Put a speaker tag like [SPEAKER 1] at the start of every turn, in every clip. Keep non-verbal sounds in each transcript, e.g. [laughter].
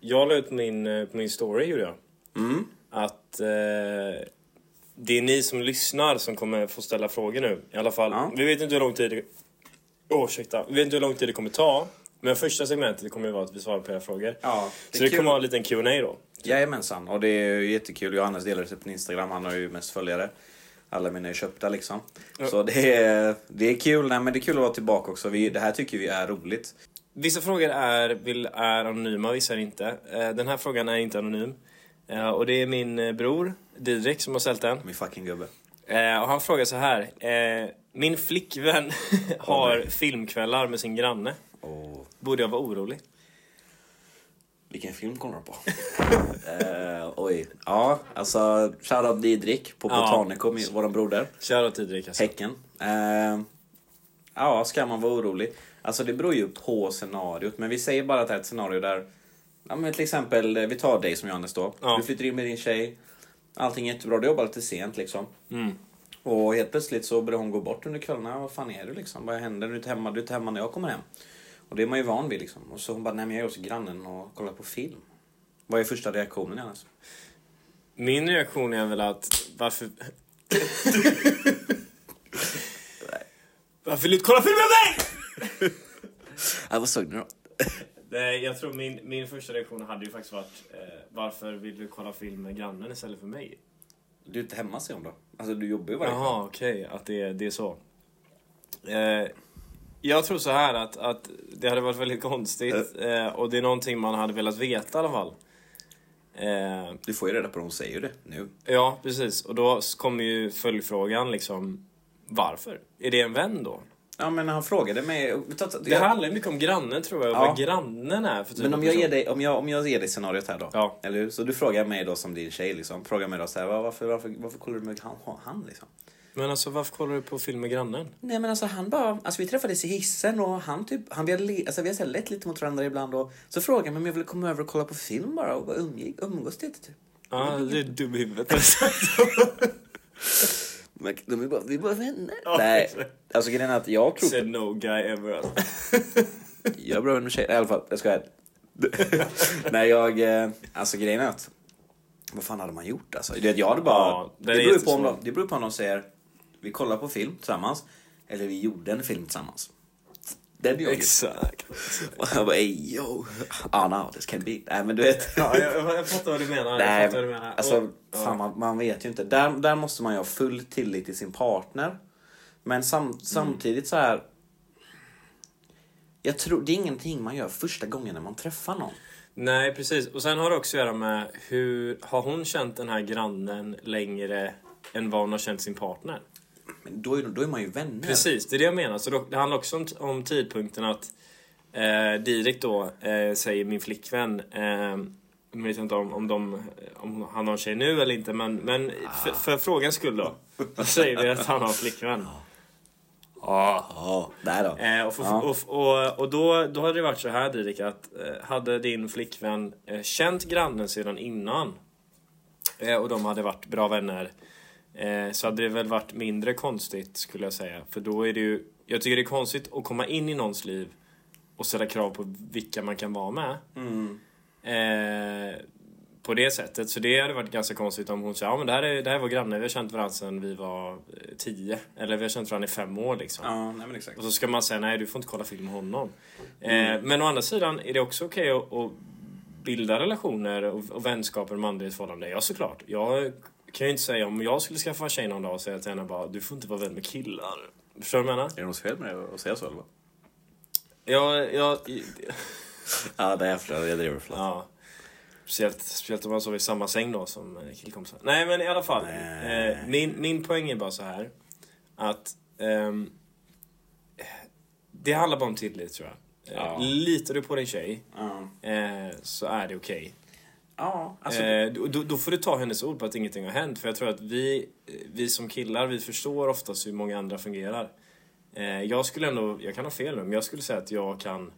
[SPEAKER 1] Jag la ut på min, eh, på min story, gjorde jag.
[SPEAKER 2] Mm.
[SPEAKER 1] Att eh, det är ni som lyssnar som kommer få ställa frågor nu. I alla fall,
[SPEAKER 2] Ja.
[SPEAKER 1] vi vet inte hur lång tid det... Åh, ursäkta. Vi vet inte hur lång tid det kommer ta. Men första segmentet kommer ju vara att vi svarar på era frågor.
[SPEAKER 2] Ja, det är
[SPEAKER 1] Så det
[SPEAKER 2] kul.
[SPEAKER 1] kommer vara en liten Q&A då.
[SPEAKER 2] Jajamensan, och det är ju jättekul. Johannes delar det på Instagram, han har ju mest följare. Alla mina är köpta liksom. Så det är, det är kul, Nej, men det är kul att vara tillbaka också. Vi, det här tycker vi är roligt.
[SPEAKER 1] Vissa frågor är, vill, är anonyma, vissa är inte. Eh, den här frågan är inte anonym. Eh, och det är min eh, bror, Didrik, som har ställt den.
[SPEAKER 2] Min fucking gubbe.
[SPEAKER 1] Eh, och han frågar så här. Eh, min flickvän [laughs] har filmkvällar med sin granne.
[SPEAKER 2] Åh,
[SPEAKER 1] Borde jag vara orolig?
[SPEAKER 2] vilken film kollar du på? [laughs] Eh, oj. Ja, alltså shoutout Didrik på
[SPEAKER 1] Ja.
[SPEAKER 2] Botanico, min, våran broder.
[SPEAKER 1] Shoutout Didrik alltså.
[SPEAKER 2] Häcken. Eh, ja, ska man vara orolig? Alltså det beror ju på scenariot, men vi säger bara att det här är ett scenario där... Ja, men till exempel, eh, vi tar dig som Johannes då.
[SPEAKER 1] Ja.
[SPEAKER 2] Du flyttar in med din tjej. Allting är jättebra, du jobbar lite sent liksom.
[SPEAKER 1] Mm.
[SPEAKER 2] Och helt plötsligt så börjar hon gå bort under kvällarna. Vad fan är du liksom? Vad händer? Du är inte hemma, du är inte hemma när jag kommer hem. Och det är man ju van vid liksom. Och så hon bara, nej men jag är hos grannen och kollar på film. Vad är första reaktionen annars?
[SPEAKER 1] Min reaktion är väl att varför... [laughs] varför vill du inte kolla film med mig?
[SPEAKER 2] Ja, vad såg ni då?
[SPEAKER 1] Nej, jag tror min, min första reaktion hade ju faktiskt varit eh, varför vill du kolla film med grannen istället för mig?
[SPEAKER 2] Du är inte hemma säger hon då. Alltså du jobbar ju varje kväll.
[SPEAKER 1] Jaha, okej. Att det, det är så. Eh, jag tror så här att, att det hade varit väldigt konstigt eh, och det är någonting man hade velat veta i alla fall. Eh,
[SPEAKER 2] Du får ju reda på det, hon säger ju det nu.
[SPEAKER 1] ja, precis. Och då kommer ju följdfrågan liksom, varför? Är det en vän då?
[SPEAKER 2] Ja men han frågade mig... ta- ta-
[SPEAKER 1] Det handlar ju mycket om grannen tror jag, och
[SPEAKER 2] Ja.
[SPEAKER 1] vad grannen är för typ
[SPEAKER 2] men
[SPEAKER 1] av
[SPEAKER 2] om jag,
[SPEAKER 1] person.
[SPEAKER 2] ger dig, om, jag, om jag ger dig scenariot här då.
[SPEAKER 1] Ja.
[SPEAKER 2] Eller hur? Så du frågar mig då som din tjej liksom. Frågar mig då så här, "Va, varför, varför, varför kollar du med han, han liksom?
[SPEAKER 1] Men alltså varför kollar du på film med grannen?
[SPEAKER 2] Nej men alltså han bara, alltså vi träffades i hissen och han typ, han, vi hade, le- alltså, vi hade så här lett lite mot varandra ibland och så frågade han mig om jag ville komma över och kolla på film bara och bara umgick, umgås lite typ.
[SPEAKER 1] Ja, du Ah, är dum i huvudet.
[SPEAKER 2] Men de är bara, vi är bara vänner. Nej, alltså grejen är att jag tror
[SPEAKER 1] Said no guy ever. alltså.
[SPEAKER 2] Jag är bra med tjejer. I alla fall, jag skojar. [laughs] Nej, jag... eh, Alltså grejen är att... Vad fan hade man gjort alltså? Du vet, jag hade bara...
[SPEAKER 1] Ja, den
[SPEAKER 2] det,
[SPEAKER 1] är
[SPEAKER 2] beror ju på om
[SPEAKER 1] jättesvår.
[SPEAKER 2] de, det beror på om de säger vi kollar på film tillsammans eller vi gjorde en film tillsammans. Det är ju
[SPEAKER 1] Exakt.
[SPEAKER 2] Och jag bara ey yo, ah no this can be. Nej men du vet.
[SPEAKER 1] Ja, jag, jag, jag fattar vad du menar. jag
[SPEAKER 2] Nej,
[SPEAKER 1] fattar vad du menar.
[SPEAKER 2] alltså
[SPEAKER 1] Och-
[SPEAKER 2] fan, man, man vet ju inte. Där, där måste man ju ha full tillit till sin partner. Men
[SPEAKER 1] Mm.
[SPEAKER 2] sam, samtidigt så här. Jag tror, det är ingenting man gör första gången när man träffar någon.
[SPEAKER 1] Nej, precis. Och sen har det också att göra med hur har hon känt den här grannen längre än vad hon har känt sin partner?
[SPEAKER 2] Men då är, då är man ju vänner.
[SPEAKER 1] Precis, det är det jag menar. Så då, det handlar också om, om tidpunkten att eh, Direkt då eh, säger min flickvän eh, jag vet inte om, om, de, om han har en tjej nu eller inte, men, men för, för frågans skull då. Så säger vi att han har flickvän.
[SPEAKER 2] Ja, där då.
[SPEAKER 1] Eh, och, för,
[SPEAKER 2] Ja.
[SPEAKER 1] och, och, och då, då hade det varit så här Didrik att eh, hade din flickvän eh, känt grannen sedan innan eh, och de hade varit bra vänner eh, så hade det väl varit mindre konstigt skulle jag säga. För då är det ju, jag tycker det är konstigt att komma in i någons liv och ställa krav på vilka man kan vara med.
[SPEAKER 2] Mm.
[SPEAKER 1] Eh, på det sättet. Så det hade varit ganska konstigt om hon sa ja men det här är, det här är vår granne, vi har känt varandra sedan vi var eh, tio. Eller vi har känt varandra i fem år liksom.
[SPEAKER 2] Ja, nej men exakt.
[SPEAKER 1] Och så ska man säga nej, du får inte kolla film med honom.
[SPEAKER 2] Mm.
[SPEAKER 1] Eh, men å andra sidan är det också okej att, att bilda relationer och, och vänskaper med andra i ett förhållande. Ja, såklart. Jag kan ju inte säga om jag skulle skaffa en tjej någon dag och säga till henne bara du får inte vara vän med killar. Förstår du vad jag menar?
[SPEAKER 2] Är det något fel med det att säga så eller? vad?
[SPEAKER 1] Jag, jag,
[SPEAKER 2] Ja, det är jag Jag driver förlåt.
[SPEAKER 1] ja. Speciellt, speciellt om man sover i samma säng då som eh, killkompisar. Nej men i alla fall.
[SPEAKER 2] Nej.
[SPEAKER 1] Eh, min, min poäng är bara så här. Att ehm, det handlar bara om tillit tror jag. Eh,
[SPEAKER 2] Ja.
[SPEAKER 1] Litar du på din tjej
[SPEAKER 2] Ja.
[SPEAKER 1] eh, så är det okej.
[SPEAKER 2] Ja, alltså.
[SPEAKER 1] Eh, då, då- då får du ta hennes ord på att ingenting har hänt. För jag tror att vi, eh, vi som killar, vi förstår oftast hur många andra fungerar. Eh, jag skulle ändå, jag kan ha fel nu, men jag skulle säga att jag kan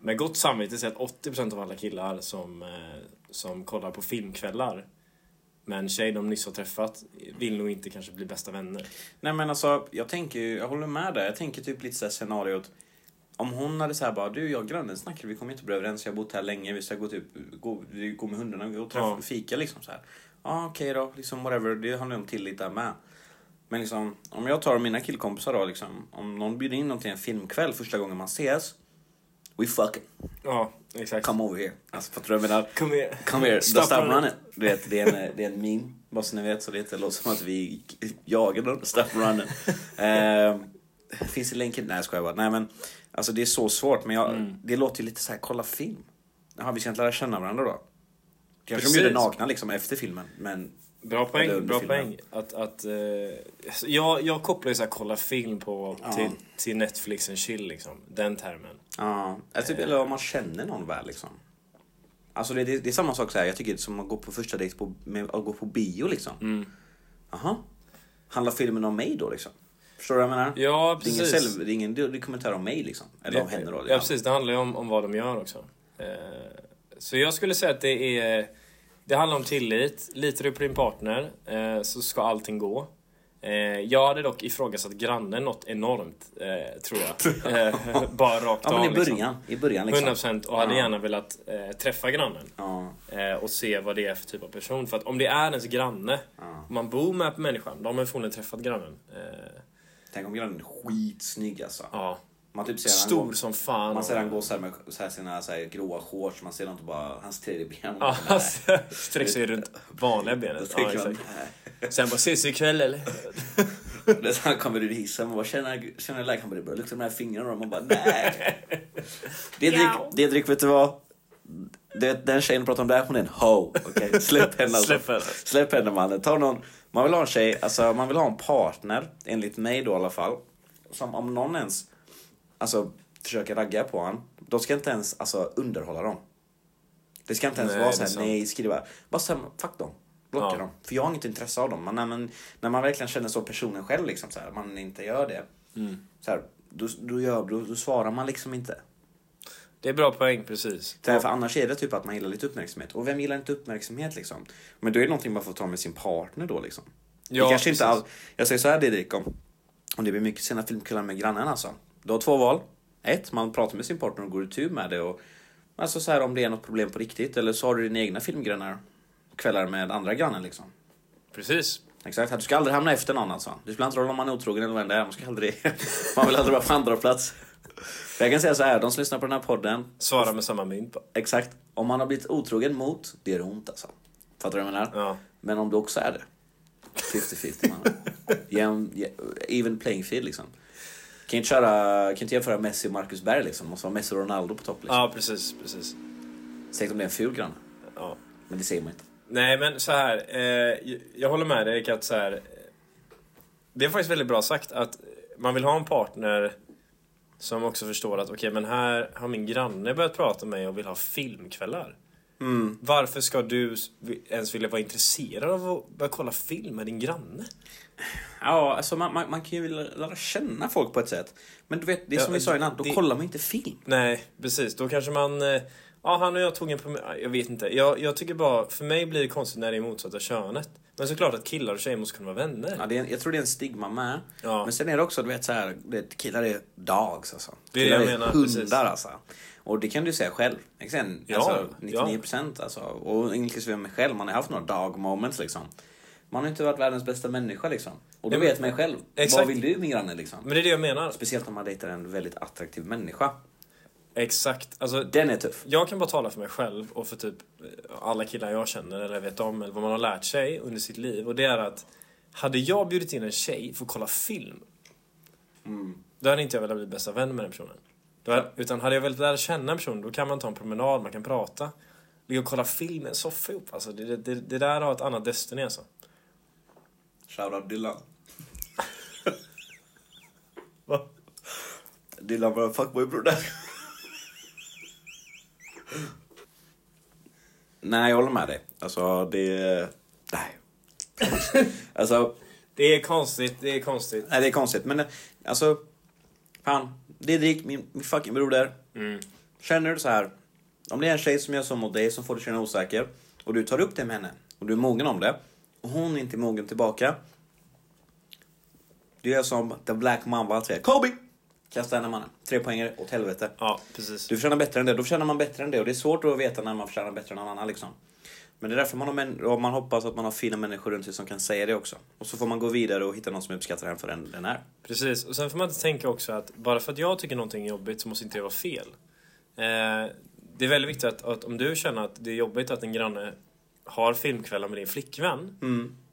[SPEAKER 1] med gott samvete säga att 80% av alla killar som, eh, som kollar på filmkvällar med en tjej de nyss har träffat vill nog inte kanske bli bästa vänner.
[SPEAKER 2] Nej men alltså, jag tänker ju, jag håller med där. Jag tänker typ lite såhär scenariot. om hon hade så här bara, du jag och grannen snackade, vi kommer inte bli överens, jag har bott här länge, vi ska gå, typ, gå, vi går med hundarna och träffa,
[SPEAKER 1] Ja.
[SPEAKER 2] fika liksom så här. Ja okej då, liksom whatever, det handlar ju om tillit där med. Men liksom, om jag tar mina killkompisar då liksom, om någon bjuder in dem till en filmkväll första gången man ses, we fucking
[SPEAKER 1] Ja, exakt.
[SPEAKER 2] come over here. Alltså fattar du vad jag menar?
[SPEAKER 1] Kom igen.
[SPEAKER 2] Come here,
[SPEAKER 1] Stoppa
[SPEAKER 2] the stop
[SPEAKER 1] den.
[SPEAKER 2] running. Du vet, det är en, det är en meme, bara så ni vet, så det inte låter som att vi jagar någon. Stop running. Eh, finns det länken? Nej, jag skojar bara. Nej, men alltså det är så svårt, men jag, det låter ju lite så här, kolla film. Jaha, vi ska inte lära känna varandra då? Kanske
[SPEAKER 1] Precis.
[SPEAKER 2] de gjorde nakna liksom efter filmen, men
[SPEAKER 1] Bra
[SPEAKER 2] Eller
[SPEAKER 1] poäng,
[SPEAKER 2] under
[SPEAKER 1] bra
[SPEAKER 2] filmen.
[SPEAKER 1] poäng. Att, att, eh, alltså, jag, jag kopplar ju såhär kolla film på,
[SPEAKER 2] Ja.
[SPEAKER 1] till, till Netflix and chill liksom. Den termen.
[SPEAKER 2] ja. Eller, typ, eller om man känner någon väl liksom. Alltså det, det, det är samma sak så här, jag tycker det är som att gå på första dejt på, med, att gå på bio liksom. Jaha, handlar filmen om mig då liksom? Förstår du vad jag menar?
[SPEAKER 1] Ja,
[SPEAKER 2] Det är ingen,
[SPEAKER 1] precis.
[SPEAKER 2] selv, det är ingen dokumentär om mig liksom. Eller om
[SPEAKER 1] Det-
[SPEAKER 2] henne då.
[SPEAKER 1] Ja, precis. Det handlar ju om, om vad de gör också. Eh, Så jag skulle säga att det är... Det handlar om tillit. Litar du på din partner eh, så ska allting gå. Eh, Jag hade dock ifrågasatt grannen något enormt, eh, tror jag.
[SPEAKER 2] [laughs]
[SPEAKER 1] Eh, Bara rakt
[SPEAKER 2] Ja, men
[SPEAKER 1] av.
[SPEAKER 2] i
[SPEAKER 1] liksom.
[SPEAKER 2] början. I början liksom.
[SPEAKER 1] 100% och hade
[SPEAKER 2] Ja.
[SPEAKER 1] gärna velat eh, träffa grannen.
[SPEAKER 2] Ja,
[SPEAKER 1] Eh, och se vad det är för typ av person. För att om det är ens granne,
[SPEAKER 2] ja.
[SPEAKER 1] om man bor med människan, då har man förmodligen träffat grannen. Eh,
[SPEAKER 2] Tänk om grannen är skitsnygg alltså.
[SPEAKER 1] ja.
[SPEAKER 2] Man typ ser han
[SPEAKER 1] Stor
[SPEAKER 2] gå-
[SPEAKER 1] som fan.
[SPEAKER 2] Man ser han gå så här med så här sina så här gråa shorts, man ser inte bara hans tredje ben. [laughs]
[SPEAKER 1] Ja, sträcker sig runt vanliga benet. Ja, exakt. Sen bara, ses vi ikväll eller?
[SPEAKER 2] [laughs] Det är så han kommer ur hissen och bara känner, känner läget, han bara det börjar lukta de här fingrarna och man bara
[SPEAKER 1] [laughs]
[SPEAKER 2] nej. Det drick, det drick vet du vad? Det, den tjejen du pratar om där, hon är en ho.
[SPEAKER 1] [laughs]
[SPEAKER 2] Okej, Släpp henne alltså.
[SPEAKER 1] Släpp henne.
[SPEAKER 2] Släpp henne mannen. Ta någon, man vill ha en tjej, alltså man vill ha en partner, enligt mig då i alla fall. Som om någon ens, alltså försöker ragga på han, de ska inte ens alltså underhålla dem. Det ska inte ens
[SPEAKER 1] Nej,
[SPEAKER 2] vara
[SPEAKER 1] det är
[SPEAKER 2] såhär,
[SPEAKER 1] sant.
[SPEAKER 2] nej skriva. Bara såhär, fuck dem. Blocka
[SPEAKER 1] Ja.
[SPEAKER 2] dem. För jag har inget intresse av dem. Men när man, när man verkligen känner så personen själv, liksom, så här, man inte gör det.
[SPEAKER 1] Mm.
[SPEAKER 2] Så här, då, då, gör, då, då svarar man liksom inte.
[SPEAKER 1] Det är bra poäng, precis.
[SPEAKER 2] Så här, för annars är det typ att man gillar lite uppmärksamhet. Och vem gillar inte uppmärksamhet liksom? Men då är det någonting man får ta med sin partner då liksom.
[SPEAKER 1] Ja,
[SPEAKER 2] det kanske inte
[SPEAKER 1] precis.
[SPEAKER 2] all... Jag säger så här Didrik, om, om det blir mycket sena filmkvällar med grannen alltså. Du har två val. Ett, man pratar med sin partner och går itu med det. Och, alltså så här om det är något problem på riktigt. Eller så har du dina egna filmgrannar kvällar med andra grannen liksom.
[SPEAKER 1] Precis.
[SPEAKER 2] Exakt, du ska aldrig hamna efter någon alltså. Det spelar inte roll om man är otrogen eller vem det är. Man, ska aldrig... [laughs] man vill aldrig vara på andra plats. Jag kan säga så här, de som lyssnar på den här podden,
[SPEAKER 1] Svara med samma mynt bara.
[SPEAKER 2] Exakt. Om man har blivit otrogen mot, det gör ont alltså. Fattar du vad jag menar?
[SPEAKER 1] Ja.
[SPEAKER 2] Men om du också är det. 50-50 mannen. Jäm- jä- Even playing field liksom. Kan inte, köra, kan inte jämföra Messi och Marcus Berg liksom. Måste vara Messi och Ronaldo på topp liksom.
[SPEAKER 1] Ja, precis, precis.
[SPEAKER 2] Säg om det är en ful granne.
[SPEAKER 1] Ja.
[SPEAKER 2] Men det säger man inte.
[SPEAKER 1] Nej, men så här. Eh, jag håller med dig att så här. eh, Det är faktiskt väldigt bra sagt att man vill ha en partner som också förstår att okej, men här har min granne börjat prata med mig och vill ha filmkvällar. Varför ska du s- vi- ens vilja vara intresserad av att börja kolla film med din granne?
[SPEAKER 2] Ja, alltså man, man, man kan ju vilja lära känna folk på ett sätt. Men du vet, det är som
[SPEAKER 1] Ja,
[SPEAKER 2] vi sa innan, då
[SPEAKER 1] det-
[SPEAKER 2] kollar man ju inte film.
[SPEAKER 1] Nej, precis. Då kanske man... eh, Ja, han och jag tog en promenad. Jag vet inte. Jag, jag tycker bara... För mig blir det konstigt när det är motsatta könet. Men såklart att killar och tjejer måste kunna vara vänner.
[SPEAKER 2] Ja, det är, en- jag tror det är en stigma med.
[SPEAKER 1] Ja.
[SPEAKER 2] Men sen är det också, du vet så här, du vet, killar är dogs alltså.
[SPEAKER 1] Det är det
[SPEAKER 2] killar
[SPEAKER 1] jag menar,
[SPEAKER 2] hundar
[SPEAKER 1] precis.
[SPEAKER 2] alltså. Och det kan du säga själv. Sen,
[SPEAKER 1] Ja,
[SPEAKER 2] alltså,
[SPEAKER 1] ja.
[SPEAKER 2] 99 procent alltså. Och inklusive mig själv, man har haft några dog moments liksom. Man har inte varit världens bästa människa liksom. Och då
[SPEAKER 1] Nej, men-
[SPEAKER 2] vet man själv, vad
[SPEAKER 1] Exakt.
[SPEAKER 2] vill du min granne liksom?
[SPEAKER 1] Men det är det jag menar.
[SPEAKER 2] Speciellt om man dejtar en väldigt attraktiv människa.
[SPEAKER 1] Exakt. Alltså,
[SPEAKER 2] Den är tuff.
[SPEAKER 1] jag kan bara tala för mig själv och för typ eh, alla killar jag känner eller vet om eller vad man har lärt sig under sitt liv. Och det är att hade jag bjudit in en tjej för att kolla film då hade inte jag velat bli bästa vän med den personen. Då hade, utan hade jag velat lära känna en person då kan man ta en promenad, man kan prata. Ligga och kolla film i en soffa ihop. Alltså, det, det, det där har ett annat Destiny alltså.
[SPEAKER 2] Shoutout Dylan.
[SPEAKER 1] Va?
[SPEAKER 2] Dylan var en fuckboy-bror där. Nej, jag håller med dig. Alltså, det... [laughs] Nej. alltså,
[SPEAKER 1] Det är konstigt, det är konstigt.
[SPEAKER 2] nej, det är konstigt. Men eh, alltså, fan. Det är Dick, min, min fucking broder. Känner du så här, om det är en tjej som gör så mot dig som får dig känna osäker och du tar upp det med henne och du är mogen om det och hon är inte mogen tillbaka. Du gör som the black mamba säger, Kobe! Kasta henne mannen. Tre poänger åt helvete.
[SPEAKER 1] Ja, precis.
[SPEAKER 2] Du förtjänar bättre än det, då förtjänar man bättre än det. Och det är svårt att veta när man förtjänar bättre än någon annan liksom. Men det är därför man, har män- och man hoppas att man har fina människor runt sig som kan säga det också. Och så får man gå vidare och hitta någon som uppskattar en för den den är.
[SPEAKER 1] Precis, och sen får man inte tänka också att bara för att jag tycker någonting är jobbigt så måste inte det vara fel. Eh, det är väldigt viktigt att, att om du känner att det är jobbigt att en granne har filmkvällar med din flickvän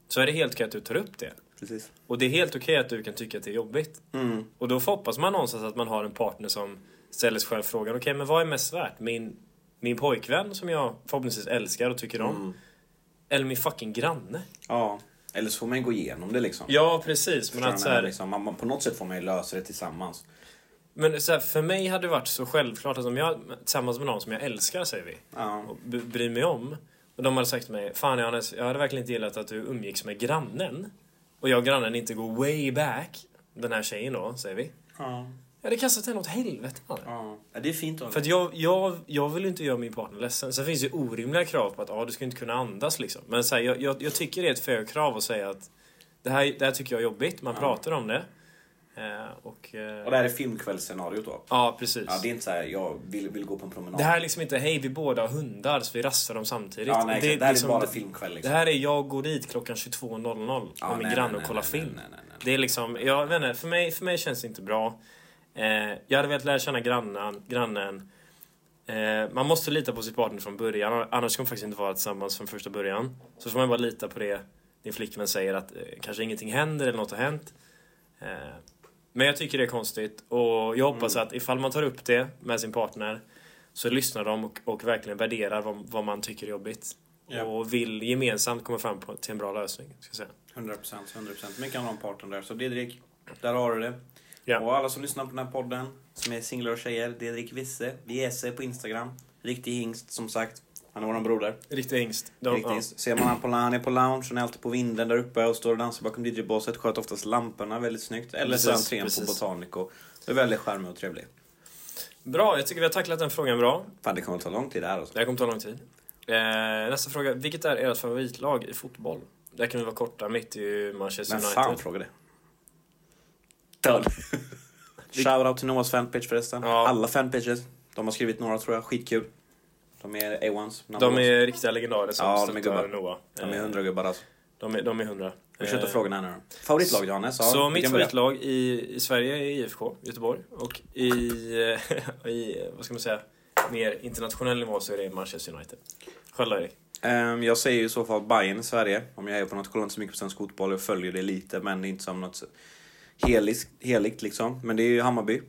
[SPEAKER 1] så är det helt okej att du tar upp det.
[SPEAKER 2] Precis.
[SPEAKER 1] Och det är helt okej att du kan tycka att det är jobbigt.
[SPEAKER 2] Mm.
[SPEAKER 1] Och då hoppas man någonstans att man har en partner som ställer sig själv frågan, okej men vad är mest värt? Min, min pojkvän som jag förhoppningsvis älskar och tycker om? Eller min fucking granne?
[SPEAKER 2] Ja. Eller så får man gå igenom det liksom.
[SPEAKER 1] Ja precis, men
[SPEAKER 2] Förstår
[SPEAKER 1] att
[SPEAKER 2] du
[SPEAKER 1] så
[SPEAKER 2] vad jag menar,
[SPEAKER 1] här,
[SPEAKER 2] liksom. man, man, på något sätt får man ju lösa det tillsammans.
[SPEAKER 1] Men så här, för mig hade det varit så självklart att om jag tillsammans med någon som jag älskar, säger vi,
[SPEAKER 2] Ja.
[SPEAKER 1] och b- bryr mig om. Och de hade sagt till mig, fan Johannes, jag hade verkligen inte gillat att du umgicks med grannen. Och jag och grannen inte går way back, den här tjejen då, säger vi.
[SPEAKER 2] Ja.
[SPEAKER 1] Jag hade kastat henne åt helvete. man.
[SPEAKER 2] ja. Det är fint av
[SPEAKER 1] För att jag, jag, jag vill ju inte göra min partner ledsen. Sen finns det ju orimliga krav på att ah, du ska inte kunna andas liksom. Men så här, jag, jag, jag tycker det är ett förkrav att säga att det här, det här tycker jag är jobbigt, man
[SPEAKER 2] Ja.
[SPEAKER 1] pratar om det. Eh, och... Eh,
[SPEAKER 2] Och det här är filmkvällsscenariot då.
[SPEAKER 1] Ja, precis.
[SPEAKER 2] Ja, det är inte så här, jag vill, vill gå på en promenad.
[SPEAKER 1] Det här är liksom inte hej vi båda har hundar så vi rastar dem samtidigt.
[SPEAKER 2] ja, nej, det, det här
[SPEAKER 1] liksom-
[SPEAKER 2] är bara filmkväll liksom.
[SPEAKER 1] det här är jag går dit klockan 22.00
[SPEAKER 2] Ja,
[SPEAKER 1] med min
[SPEAKER 2] nej,
[SPEAKER 1] granne
[SPEAKER 2] nej,
[SPEAKER 1] och
[SPEAKER 2] nej,
[SPEAKER 1] kollar
[SPEAKER 2] nej,
[SPEAKER 1] film.
[SPEAKER 2] nej, nej, nej.
[SPEAKER 1] Det är liksom, jag vet inte, för mig, för mig känns det inte bra. Eh, jag hade velat lära känna grannen. grannen. Eh, man måste lita på sin partner från början, annars kommer man faktiskt inte vara tillsammans från första början. Så får man bara lita på det din flickvän säger att eh, kanske ingenting händer eller något har hänt. Eh, men jag tycker det är konstigt och jag hoppas att ifall man tar upp det med sin partner så lyssnar de och, och verkligen värderar vad, vad man tycker är jobbigt.
[SPEAKER 2] Ja.
[SPEAKER 1] Och vill gemensamt komma fram på, till en bra lösning. Ska jag säga.
[SPEAKER 2] 100%, 100%. Mycket handlar om parten där. Så Didrik, där har du det.
[SPEAKER 1] Ja.
[SPEAKER 2] Och alla som lyssnar på den här podden, som är singlar och tjejer, Didrik Wisse, Wiese på Instagram. Riktig hingst, som sagt. Han är våran broder.
[SPEAKER 1] Riktig ängst. De,
[SPEAKER 2] Riktig
[SPEAKER 1] ja.
[SPEAKER 2] hingst. Ser man han på han är på lounge, han är alltid på vinden där uppe och står och dansar bakom DJ-båset. Sköter oftast lamporna väldigt snyggt. Eller så är han
[SPEAKER 1] Precis,
[SPEAKER 2] tren på
[SPEAKER 1] precis.
[SPEAKER 2] Botanico. Det är väldigt charmig och trevlig.
[SPEAKER 1] Bra, jag tycker vi har tacklat den frågan bra.
[SPEAKER 2] Fan, det kommer att ta lång tid det här alltså.
[SPEAKER 1] Det här kommer ta lång tid. Eh, nästa fråga. Vilket är ert favoritlag i fotboll? Där kan vi vara korta. Mitt är ju Manchester
[SPEAKER 2] Men
[SPEAKER 1] United.
[SPEAKER 2] fan fråga det. Död. [laughs] Shoutout till Noahs fanpage förresten.
[SPEAKER 1] Ja.
[SPEAKER 2] Alla fanpages. De har skrivit några tror jag. Skitkul. De är A1s. number
[SPEAKER 1] De
[SPEAKER 2] ones.
[SPEAKER 1] är riktiga legendarer som
[SPEAKER 2] Ja, de är
[SPEAKER 1] stöttar
[SPEAKER 2] gubbar.
[SPEAKER 1] Noah.
[SPEAKER 2] de är
[SPEAKER 1] Eh,
[SPEAKER 2] hundra gubbar alltså.
[SPEAKER 1] De är, de är hundra.
[SPEAKER 2] Vi kör
[SPEAKER 1] Eh,
[SPEAKER 2] till frågorna här nu då. Favoritlag Johannes? Ja,
[SPEAKER 1] Så
[SPEAKER 2] vi
[SPEAKER 1] mitt
[SPEAKER 2] kan börja.
[SPEAKER 1] favoritlag i, i Sverige är IFK Göteborg och i, eh, [laughs] i, eh, vad ska man säga, mer internationell nivå så är det Manchester United. Själv då, Erik?
[SPEAKER 2] Ehm, jag säger ju i så fall Bayern i Sverige. Om jag är på något kolon så mycket på svensk fotboll. Jag följer det lite men det är inte som något heligt, heligt liksom. Men det är ju Hammarby.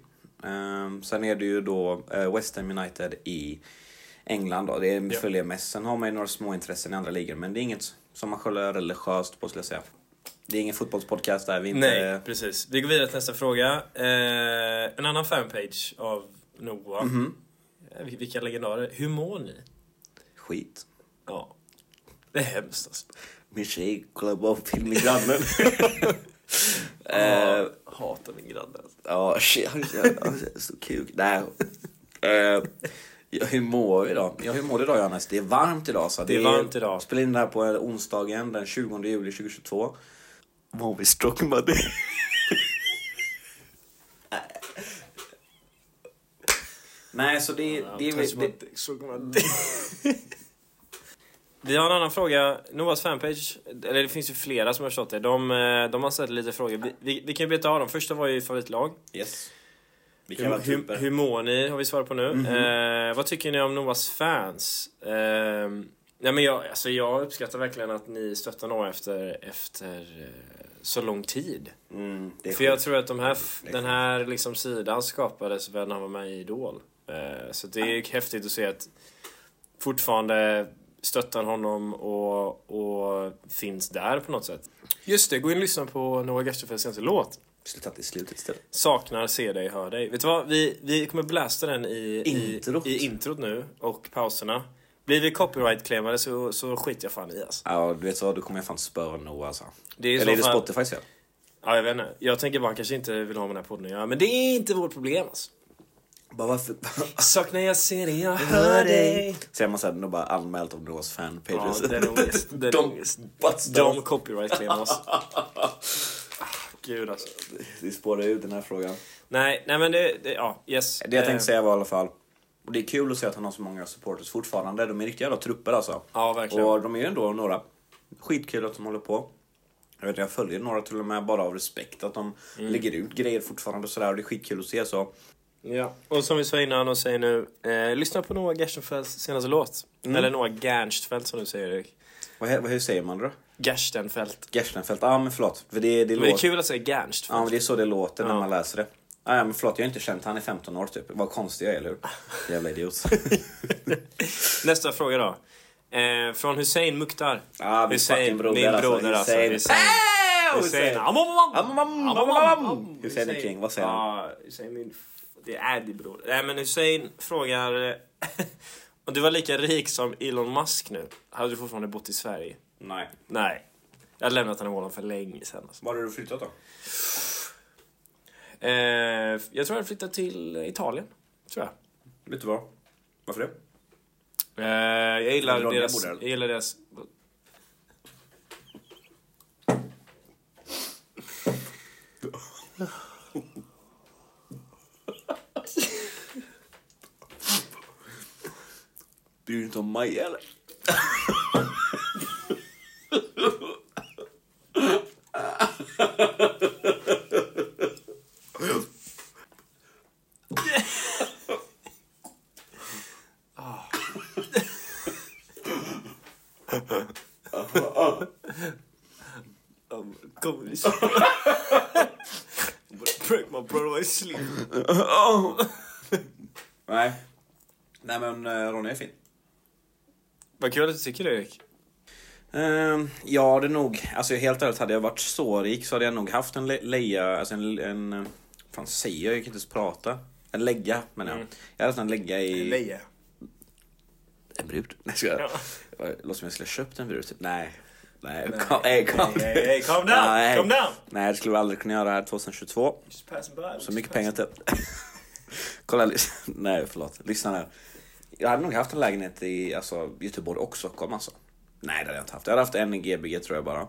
[SPEAKER 2] Ehm, sen är det ju då eh, West Ham United i England då. Det är,
[SPEAKER 1] Ja.
[SPEAKER 2] följer jag mest. Sen har man ju några små intressen i andra ligor. Men det är inget som man sköljer religiöst på skulle jag säga. Det är ingen fotbollspodcast där. Vi är inte...
[SPEAKER 1] Nej, precis. Vi går vidare till nästa fråga. Eh, en annan fanpage av Noah.
[SPEAKER 2] Mhm.
[SPEAKER 1] Eh, vil- Vilka legendarer. Hur mår ni?
[SPEAKER 2] Skit.
[SPEAKER 1] Ja. Det är hemskt alltså.
[SPEAKER 2] Min tjej kollar bara på film med grannen. Ehm,
[SPEAKER 1] Ja, hatar min granne. alltså.
[SPEAKER 2] Ja, shit, han är så kuk. Nej. Eh, jag hur mår idag? Ja, hur mår du idag Johannes? Det är varmt idag. Så
[SPEAKER 1] Det är varmt idag.
[SPEAKER 2] Spelar in det här på eh, onsdagen den 20 juli 2022. Vad vi stroking buddy. [laughs] Nej, så det, det,
[SPEAKER 1] Tack
[SPEAKER 2] är...
[SPEAKER 1] så
[SPEAKER 2] Det,
[SPEAKER 1] mycket. [laughs] Vi har en annan fråga. Noahs fanpage, eller det finns ju flera som har förstått det. De, eh, de har ställt lite frågor. Vi, vi, vi kan ju beta av dem. Första var ju favoritlag.
[SPEAKER 2] yes. Vi kan
[SPEAKER 1] Hur,
[SPEAKER 2] vara
[SPEAKER 1] hur,
[SPEAKER 2] typer.
[SPEAKER 1] hur mår ni? Har vi svarat på nu.
[SPEAKER 2] Mhm.
[SPEAKER 1] Eh, vad tycker ni om Noahs fans? Eh, nej men jag, alltså jag uppskattar verkligen att ni stöttar Noah efter, efter eh, så lång tid.
[SPEAKER 2] Mm, det är
[SPEAKER 1] För jag tror att de här, f-
[SPEAKER 2] Det är
[SPEAKER 1] den här liksom sidan skapades väl när han var med i Idol. Eh, Så det är ju häftigt att se att fortfarande stöttar honom och, och finns där på något sätt. Just det, gå in och lyssna på Noah Gersterfeldts senaste låt.
[SPEAKER 2] Sluta till slutet istället.
[SPEAKER 1] Saknar, ser dig, hör dig. Vet du vad? Vi, vi kommer blästa den i
[SPEAKER 2] Introt.
[SPEAKER 1] I, i introt nu och pauserna. Blir vi copyright-claimade så, så skiter jag fan i alltså.
[SPEAKER 2] Ja, du vet så, då kommer jag fan spöa Noah alltså.
[SPEAKER 1] Det är i så
[SPEAKER 2] Eller är det
[SPEAKER 1] fall-
[SPEAKER 2] Spotifys fel?
[SPEAKER 1] Ja, jag vet inte. Jag tänker bara han kanske inte vill ha med den här podden att göra. Men det är inte vårt problem alltså.
[SPEAKER 2] Bara varför? [laughs]
[SPEAKER 1] Saknar jag ser dig, jag hör dig.
[SPEAKER 2] Så är man såhär, de bara anmält om Noahs fanpages. [laughs]
[SPEAKER 1] Ja, den är ångest. Den är
[SPEAKER 2] de,
[SPEAKER 1] ångest.
[SPEAKER 2] what's
[SPEAKER 1] De copyright claimar oss. Ah, gud alltså.
[SPEAKER 2] Vi spårar ut den här frågan.
[SPEAKER 1] Nej, nej men det, det ja, yes.
[SPEAKER 2] Det jag tänkte
[SPEAKER 1] Eh,
[SPEAKER 2] säga var i alla fall, och det är kul att se att han har så många supporters fortfarande. De är riktiga jävla trupper alltså.
[SPEAKER 1] Ja, verkligen.
[SPEAKER 2] Och de är ju ändå några. Skitkul att de håller på. Jag vet jag följer några till och med bara av respekt att de
[SPEAKER 1] Mm.
[SPEAKER 2] lägger ut grejer fortfarande och sådär och det är skitkul att se så.
[SPEAKER 1] Ja, och som vi sa innan och säger nu, eh, lyssna på Noah Gerstenfeldts senaste låt. Eller Noah Gernstfeldt som du säger Erik.
[SPEAKER 2] Vad, he- vad, hur säger man då?
[SPEAKER 1] Gerstenfeldt.
[SPEAKER 2] Gerstenfeldt? Ja ah, men förlåt. För det, det,
[SPEAKER 1] Men det är
[SPEAKER 2] låter-
[SPEAKER 1] kul att säga Gernstfeldt.
[SPEAKER 2] Ja men det är så det låter när
[SPEAKER 1] Ja.
[SPEAKER 2] man läser det. Ah, ja men förlåt jag har inte känt han i 15 år typ. Vad konstig jag är eller [laughs] hur? Jävla [laughs] idiot.
[SPEAKER 1] Nästa fråga då. Eh, från Hussein Mukhtar.
[SPEAKER 2] Ah, min fucking broder
[SPEAKER 1] min
[SPEAKER 2] alltså.
[SPEAKER 1] broder alltså.
[SPEAKER 2] Hussein.
[SPEAKER 1] Hussein.
[SPEAKER 2] Ah,
[SPEAKER 1] Hussein.
[SPEAKER 2] Hussein.
[SPEAKER 1] Am, am, am.
[SPEAKER 2] Am, am, am,
[SPEAKER 1] Am, am,
[SPEAKER 2] am,
[SPEAKER 1] am.
[SPEAKER 2] am. Hussein är king, vad säger han?
[SPEAKER 1] Ja, Hussein min... f- Det är din broder. Nej men Hussein frågar... [laughs] eh, Om du var lika rik som Elon Musk nu, hade du fortfarande bott i Sverige?
[SPEAKER 2] Nej.
[SPEAKER 1] Nej. Jag hade lämnat den här målen för länge sedan. Alltså.
[SPEAKER 2] Var har du flyttat då?
[SPEAKER 1] Eh, jag tror jag flyttade till Italien. Tror jag.
[SPEAKER 2] Vet du vad? Varför det?
[SPEAKER 1] Eh, jag,
[SPEAKER 2] Är det
[SPEAKER 1] gillar
[SPEAKER 2] Ronja
[SPEAKER 1] deras,
[SPEAKER 2] bor där, eller?
[SPEAKER 1] jag gillar deras...
[SPEAKER 2] Bryr du dig inte om Maja eller?
[SPEAKER 1] Um, Kom, [laughs] Break my brother my sleep.
[SPEAKER 2] Nej. Nej men eh, Ronja är fin.
[SPEAKER 1] Vad kul att du tycker det, Erik.
[SPEAKER 2] Ehm, ja, det är nog. Alltså helt ärligt, hade jag varit så rik så hade jag nog haft en le- leja, alltså en, en... eh, fan säger jag? Jag kan inte ens prata. En lägga menar jag. Jag hade haft Mm. en lägga i...
[SPEAKER 1] Leje.
[SPEAKER 2] en brud? Nej, ska jag
[SPEAKER 1] Ja.
[SPEAKER 2] Det låter som jag skulle ha köpt en brud. Typ. Nej. Nej,
[SPEAKER 1] Nej.
[SPEAKER 2] kom, nej, kom.
[SPEAKER 1] Hey, hey, hey, calm down,
[SPEAKER 2] [laughs] Nej.
[SPEAKER 1] calm down.
[SPEAKER 2] Nej, det skulle vi aldrig kunna göra här 2022.
[SPEAKER 1] Just passing by.
[SPEAKER 2] Så mycket pengar till... [laughs] Kolla, lys- [laughs] nej förlåt. Lyssna nu. Jag hade nog haft en lägenhet i alltså, Göteborg och Stockholm alltså. Nej det hade jag inte haft. Jag hade haft en i Gbg tror jag bara.